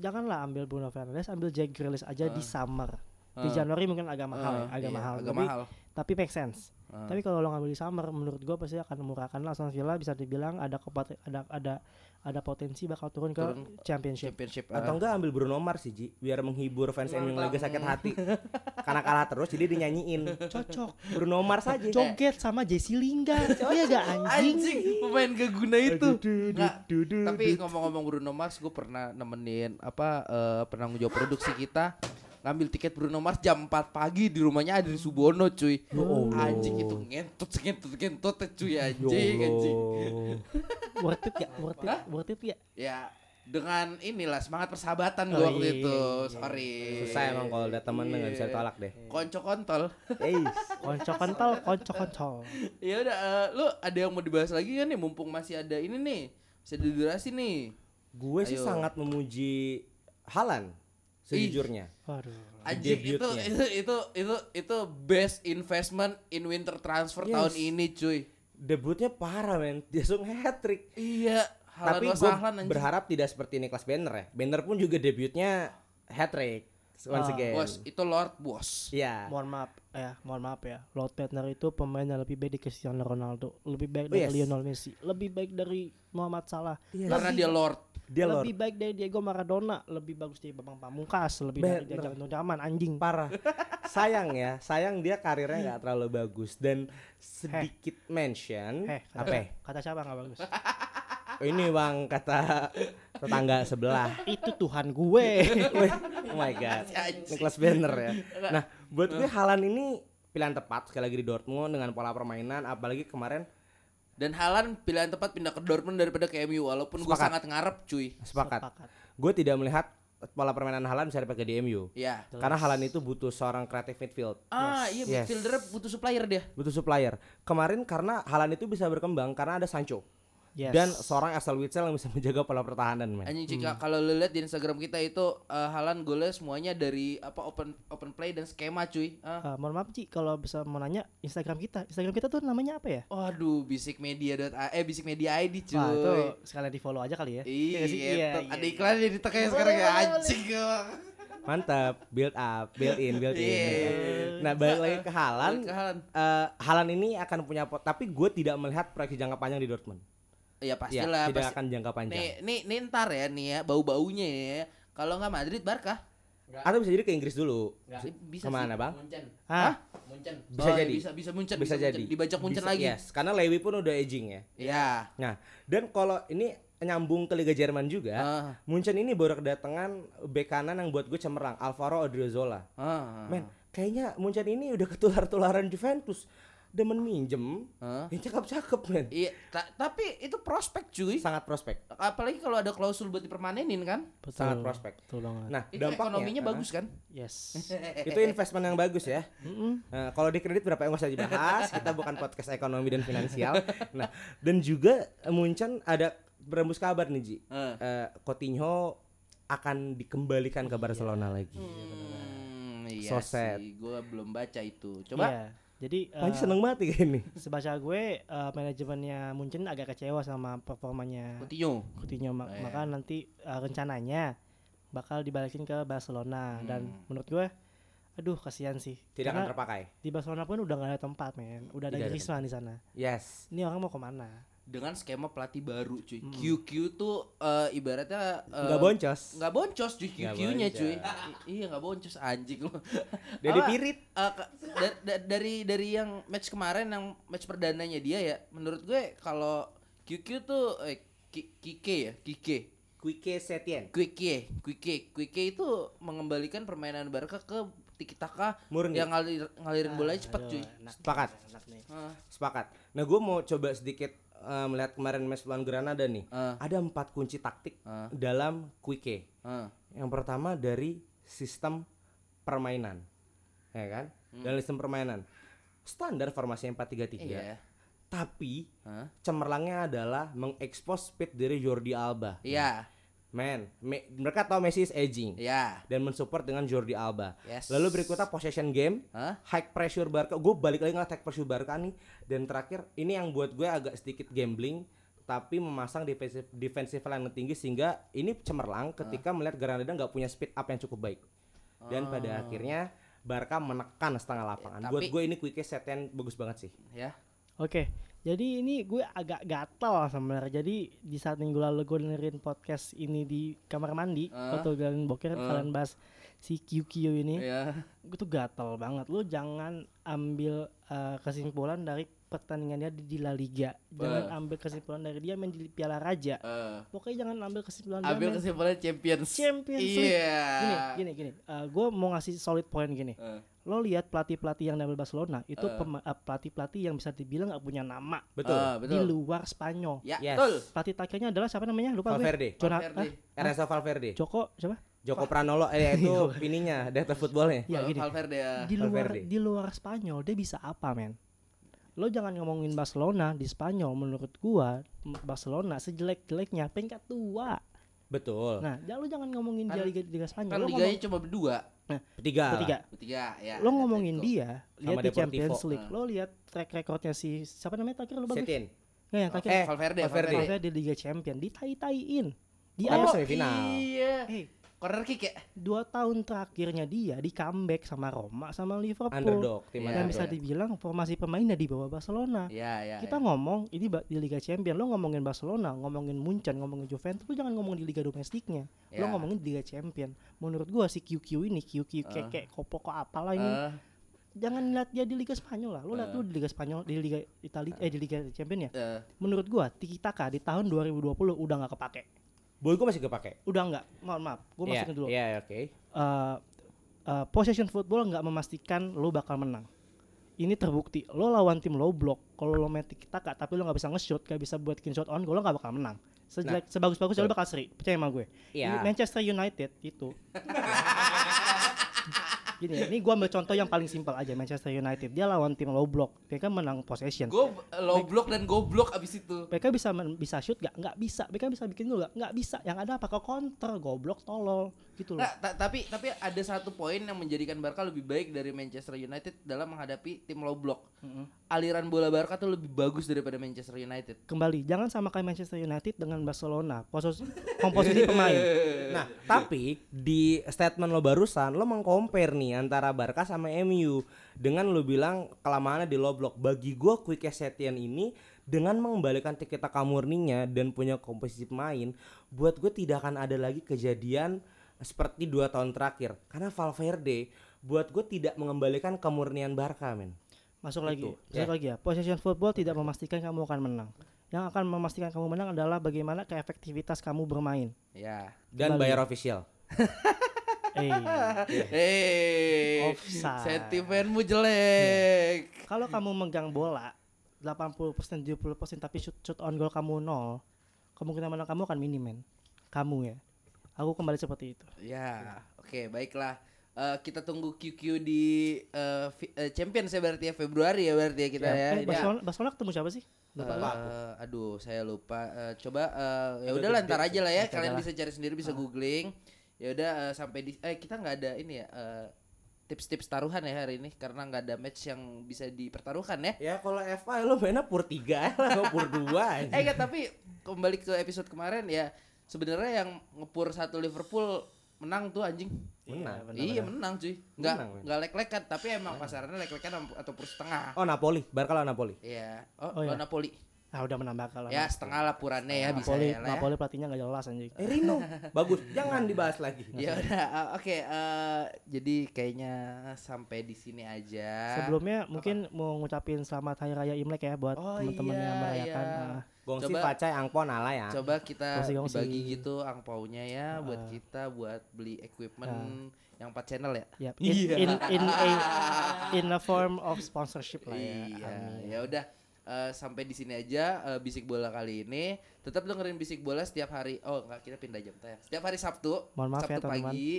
janganlah ambil Bruno Fernandes, ambil Jack Grealish aja di summer. Di
Eh.
Januari mungkin agak mahal, ya,
Eh,
agak
iya,
mahal.
Agak
tapi,
mahal.
tapi make sense.
Eh.
Tapi kalau lo ngambil di summer, menurut gua pasti akan murah karena Aston Villa bisa dibilang ada kepat- ada ada ada potensi bakal turun ke
Turun
championship.
Championship. eh.
Atau enggak ambil Bruno Mars sih, Ji, biar menghibur fans MU yang lagi sakit hati. Karena kalah terus jadi dinyanyiin.
Cocok.
Bruno Mars aja.
Eh. Joget sama Jesse Lingard. Iya gak anjing?
Anjing, pemain gak guna
Eh,
itu. Nggak, tapi ngomong-ngomong Bruno Mars, gue pernah nemenin apa eh, penanggung jawab produksi kita ngambil tiket Bruno Mars jam 4 pagi di rumahnya Adri Subono cuy.
Ya
Anjing itu ngentut ngentut ngentut ya, cuy anjing anjing.
Oh.
worth it gak? Worth it, worth it gak?
Ya dengan inilah semangat persahabatan gue
Oh,
waktu
iya,
itu.
iya,
Sorry.
Susah emang kalau udah temen
Iya.
nggak bisa tolak deh.
Konco kontol.
Eis.
Koncok kontol, koncok kontol.
ya udah eh, lu ada yang mau dibahas lagi kan nih mumpung masih ada ini nih. Masih ada durasi nih.
Gue sih
Ayo.
sangat memuji Halan sejujurnya.
Waduh.
Anjing itu,
Debutnya.
itu itu itu itu best investment in winter transfer
Yes.
tahun ini cuy.
Debutnya parah men, dia langsung hat trick.
Iya, halan
Tapi
wasahlan
gue
anjing.
berharap tidak seperti Niklas Banner ya. Banner pun juga debutnya hat trick. once
Ah.
again.
Bos, itu Lord Bos.
Iya.
mohon maaf ya mohon maaf ya Lord Petner itu pemain yang lebih baik dari Cristiano Ronaldo lebih baik
Oh,
dari
yes.
Lionel Messi lebih baik dari Muhammad Salah
Iya.
Karena dia Lord.
Dia Lord.
lebih baik dari Diego Maradona lebih bagus dari Bambang Pamungkas lebih dari
Bener.
Jajang Nurjaman anjing
parah sayang ya sayang dia karirnya nggak terlalu bagus dan sedikit mention
eh kata,
apa ya?
kata siapa nggak bagus
ini bang kata tetangga sebelah
itu Tuhan gue
Wih, oh my god Nicholas Banner ya nah buat gue Halan ini pilihan tepat sekali lagi di Dortmund dengan pola permainan apalagi kemarin
Dan Halan pilihan tepat pindah ke Dortmund daripada ke MU walaupun gue
Sepakat.
sangat ngarep cuy.
sepakat gue tidak melihat pola permainan Halan bisa dipakai di MU
Ya.
karena Halan itu butuh seorang kreatif midfield
Ah, iya
Yes.
midfielder butuh supplier dia.
butuh supplier kemarin karena Halan itu bisa berkembang karena ada Sancho
Yes.
dan seorang Axel Witsel yang bisa menjaga pola pertahanan men
Anjing jika kalau lu lihat di Instagram kita itu eh, Halan golnya semuanya dari apa open open play dan skema cuy. Ah.
Eh, mohon maaf Ci kalau bisa mau nanya Instagram kita Instagram kita tuh namanya apa ya
Waduh, bisik media dot eh bisik media ID cuy.
Wah itu sekalian di follow aja kali ya
Iya,
nggak sih? iya,
tetep.
iya,
ada
iya.
iklannya di tengah sekarang ya anjing.
Mantap, build up, build in, build in.
Iya.
Nah, balik lagi ke Halan.
Balik ke Haaland.
eh, Haaland ini akan punya pot, tapi gue tidak melihat proyeksi jangka panjang di Dortmund. Ya,
Iya pastilah.
tidak
pasti.
akan jangka panjang.
Nih, nih, nih ntar ya nih ya bau baunya ya. Kalau nggak Madrid, Barca.
Atau bisa jadi ke Inggris dulu.
Eh, Bisa
Kemana,
sih.
Bang?
Munchen.
Hah?
Munchen.
Bisa
Oh, iya,
jadi.
Bisa bisa Munchen.
Bisa, jadi.
Munchen. Dibajak Munchen
Bisa-
lagi.
Yes, karena Lewi pun udah aging ya.
Ya.
Nah, dan kalau ini nyambung ke Liga Jerman juga,
Ah.
Munchen ini baru kedatangan bek kanan yang buat gue cemerlang, Alvaro Odriozola.
Ah.
Men, kayaknya Munchen ini udah ketular-tularan Juventus. Demen minjem,
Hah?
yang cakep-cakep men.
Ah. Iya, ta- tapi itu prospek cuy.
Sangat prospek,
Apalagi kalau ada klausul buat dipermanenin kan.
Betul.
sangat prospek.
betul banget
Nah,
Itu
dampaknya Iya,
ekonominya
ah,
bagus kan?
yes
Itu investment yang bagus ya. Nah, kalau di kredit berapa yang usah dibahas. Kita bukan podcast ekonomi dan finansial. Nah, dan juga eh, Munchen ada berembus kabar nih Ji.
Eh.
Eh, Coutinho akan dikembalikan ke Barcelona lagi.
Oh, iya. Hmm, iya
So sad.
sih, gue belum baca itu.
Iya.
Coba
jadi eh,
Panji seneng banget nih kayak ini.
sebaca gue eh, manajemennya Munchen agak kecewa sama performanya
Coutinho.
Coutinho Ma-
Eh.
maka nanti uh, rencananya bakal dibalikin ke Barcelona dan menurut gue aduh kasihan sih
Tidak akan
karena
terpakai.
di Barcelona pun udah gak ada tempat men udah ada
Tidak ada
Griezmann di sana
Yes.
ini orang mau kemana
dengan skema pelatih baru cuy. QQ tuh eh, ibaratnya eh,
Enggak Hmm. boncos.
nggak boncos cuy
Nggak
QQ-nya cuy.
boncos.
I- iya nggak boncos anjing lu.
Jadi
Apa,
pirit.
eh, ke- da- da- dari dari yang match kemarin yang match perdananya dia ya, menurut gue kalau QQ tuh eh, Ki- Kike ya, Kike.
Quique Setien.
Quique, Quique, Quique itu mengembalikan permainan Barca ke tiki taka
Murni.
yang ngalir, ngalirin bolanya cepat
Aduh, nah.
cuy.
enak nih,
Sepakat.
enak nih.
Ah,
Sepakat. Nah, gue mau coba sedikit eh, melihat kemarin match lawan Granada nih.
Ah.
Ada empat kunci taktik
Ah.
dalam Quique.
ah.
Yang pertama dari sistem permainan. Ya kan?
Hmm.
Dari sistem permainan. Standar formasi 4-3-3.
Iya.
Tapi
Hah?
cemerlangnya adalah mengekspos speed dari Jordi Alba.
Iya,
Man, me- mereka tahu Messi is aging
iya.
dan mensupport dengan Jordi Alba.
Yes.
Lalu berikutnya possession game,
Hah?
high pressure Barca. Gue balik lagi ngeliat high pressure Barca nih. Dan terakhir, ini yang buat gue agak sedikit gambling, tapi memasang defensive defensive line yang tinggi sehingga ini cemerlang ketika melihat Granada nggak punya speed up yang cukup baik. Dan pada akhirnya Barca menekan setengah lapangan.
tapi-
buat gue ini quick seten bagus banget sih.
Ya.
Oke, jadi ini gue agak gatal sebenarnya. Jadi di saat minggu lalu gue dengerin podcast ini di kamar mandi
Ah.
atau galen boker kalian bahas si QQ ini,
Iya.
gue tuh gatal banget. Lu jangan ambil eh, kesimpulan dari pertandingannya di, di La Liga. Jangan ambil kesimpulan dari dia main di Piala Raja.
Eh,
Pokoknya jangan ambil kesimpulan dia
ambil
main
kesimpulan Champions.
Champions League.
Iya.
Gini, gini, gini. gue mau ngasih solid point gini.
Eh,
Lo lihat pelatih-pelatih yang dari Barcelona itu pema- eh, pelatih-pelatih yang bisa dibilang gak punya nama
Betul.
ah,
di
betul.
luar Spanyol.
Ya,
Yes.
betul.
Pelatih tackle-nya adalah siapa namanya? Lupa
Valverde.
gue. Jona-
Valverde.
ah,
Ernesto Valverde.
Joko siapa?
Joko Pranolo eh itu ininya data footballnya.
Ya
Val-
gini.
Valverde ya.
Di luar
Valverde.
di luar Spanyol dia bisa apa, men? Lo jangan ngomongin Barcelona di Spanyol menurut gua m- Barcelona sejelek-jeleknya peringkat tua.
Betul.
Nah, ya lo jangan ngomongin dia
Kan-
liga liga Spanyol.
Kan
Lo
liganya
ngomong,
cuma berdua,
Ketiga. lah.
ketiga.
bertiga ya.
Lo
ada
ngomongin
Atletico.
dia lihat di
Deportivo.
Champions League.
Ah.
Lo lihat track recordnya si siapa namanya terakhir lo bagus?
Setien.
Nggak, yang terakhir.
Eh,
Valverde,
Valverde.
Valverde.
Valverde di Liga Champions ditai-taiin. Di
Kan
awal
semifinal.
Iya.
Eh,
corner kick ya
dua tahun terakhirnya dia di comeback sama Roma sama Liverpool
underdog tim
dan
Iya.
underdog.
bisa dibilang formasi pemainnya di bawah Barcelona
Iya, iya.
kita ngomong ini ba- di Liga Champions lo ngomongin Barcelona ngomongin Munchen ngomongin Juventus lo jangan ngomongin di Liga domestiknya
Ya.
lo ngomongin di Liga Champions menurut gua si QQ ini QQ kayak kayak kopoko apalah ini
Eh,
jangan lihat dia di Liga Spanyol lah lo lihat dulu di Liga Spanyol di Liga Italia eh di Liga Champions ya
eh,
menurut gua Tiki Taka di tahun 2020 udah nggak kepake
Boy gue masih kepake.
udah nggak mohon maaf gue
Iya,
masukin dulu
Iya, oke.
uh, uh, possession football nggak memastikan lo bakal menang. Ini terbukti lo lawan tim low block, kalau lo main kita kak tapi lo nggak bisa nge-shoot, nggak bisa buat kin shot on, goal, lo nggak bakal menang. Sejelek, sebagus-bagus lo bakal seri, percaya sama gue.
Iya.
Ini Manchester United itu. Gini, ya, ini gue ambil contoh yang paling simpel aja Manchester United. Dia lawan tim low block, mereka menang possession.
gue eh, low block dan goblok abis itu
Mereka bisa men- bisa shoot gak? Nggak bisa. Mereka bisa bikin gol gak? Nggak bisa. Yang ada apa? Ke counter, goblok, tolol, gitu loh.
Nah, ta- tapi tapi ada satu poin yang menjadikan Barca lebih baik dari Manchester United dalam menghadapi tim low block. Aliran bola Barca tuh lebih bagus daripada Manchester United.
kembali jangan samakan Manchester United dengan Barcelona Posos, komposisi pemain
Nah, tapi di statement lo barusan lo mengcompare nih antara Barca sama MU dengan lo bilang kelamaannya di low block. Bagi gua Quick Setien ini dengan mengembalikan tiketa kamurninya dan punya komposisi pemain, buat gue tidak akan ada lagi kejadian seperti dua tahun terakhir. Karena Valverde buat gue tidak mengembalikan kemurnian Barca, men.
masuk lagi
Itu,
masuk lagi ya possession football tidak memastikan kamu akan menang yang akan memastikan kamu menang adalah bagaimana keefektivitas kamu bermain
Ya.
Dan
Kembali.
bayar official.
eh
Iya. Eh.
Offside.
Sentimenmu jelek.
kalau kamu megang bola 80% 70% tapi shoot, shoot on goal kamu nol kemungkinan menang kamu akan minim men kamu ya aku kembali seperti itu
Ya. Oke, baiklah. Eh, kita tunggu QQ di eh, fi- eh, Champions ya berarti ya Februari ya berarti ya kita ya.
eh,
Ini-
Barcelona, Barcelona ketemu siapa sih Lupa.
Eh, aduh saya lupa Eh, coba eh, ya
Agak
udah
gede
lantar aja lah Ah. ya
Ntar
kalian
aja lah.
bisa cari sendiri bisa googling ya udah eh, sampai di eh kita nggak ada ini ya eh, tips-tips taruhan ya hari ini karena nggak ada match yang bisa dipertaruhkan ya
Ya kalau FA lo mainnya pur 3 lah, pur 2
eh nggak, tapi kembali ke episode kemarin ya sebenarnya yang ngepur satu Liverpool menang tuh anjing
Menang.
iya menang cuy nggak
Menang, men.
nggak lek-lekan tapi emang pasarannya lek-lekan atau pur setengah
Oh Napoli, Barca lawan Napoli.
Iya,
Oh,
oh,
iya.
lawan Napoli.
ah udah menambah kalah
Ya setengah lah purannya ya bisa
Napoli,
ya lah ya.
Napoli pelatihnya nggak jelas anjing
Eh Rino, bagus. Jangan dibahas lagi.
Ya udah, uh, oke. eh, jadi kayaknya sampai di sini aja.
Sebelumnya mungkin mau ngucapin selamat hari raya Imlek ya buat
Oh,
teman-teman yang
iya,
merayakan.
iya.
Ah,
Gongsi
Coba-
pacai angpon ala ya.
coba kita
Gongsi-gongsi. Ah.
bagi gitu angpaunya ya buat kita buat beli equipment yang 4 channel ya.
yap. In, in in a in a form of sponsorship lah ya.
Iya,
Amin.
ya udah eh, sampai di sini aja eh, bisik bola kali ini. Tetap dengerin bisik bola setiap hari. Oh, enggak kita pindah jam tayang. Setiap hari Sabtu,
Mohon maaf ya,
Sabtu
teman-teman.
pagi.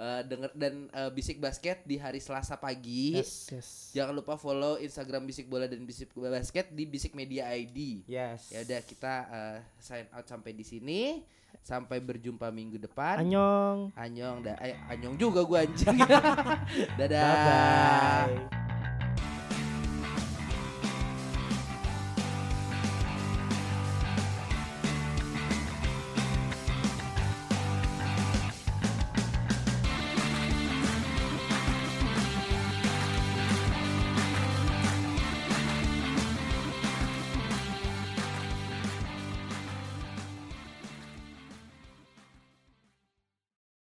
eh, denger dan eh, bisik basket di hari Selasa pagi.
Yes, yes.
Jangan lupa follow Instagram bisik bola dan bisik basket di bisik media ID.
Yes.
Ya udah kita eh, sign out sampai di sini. Sampai berjumpa minggu depan.
Annyeong.
Anyong, da- eh, anyong juga gua anjing. Dadah.
Bye.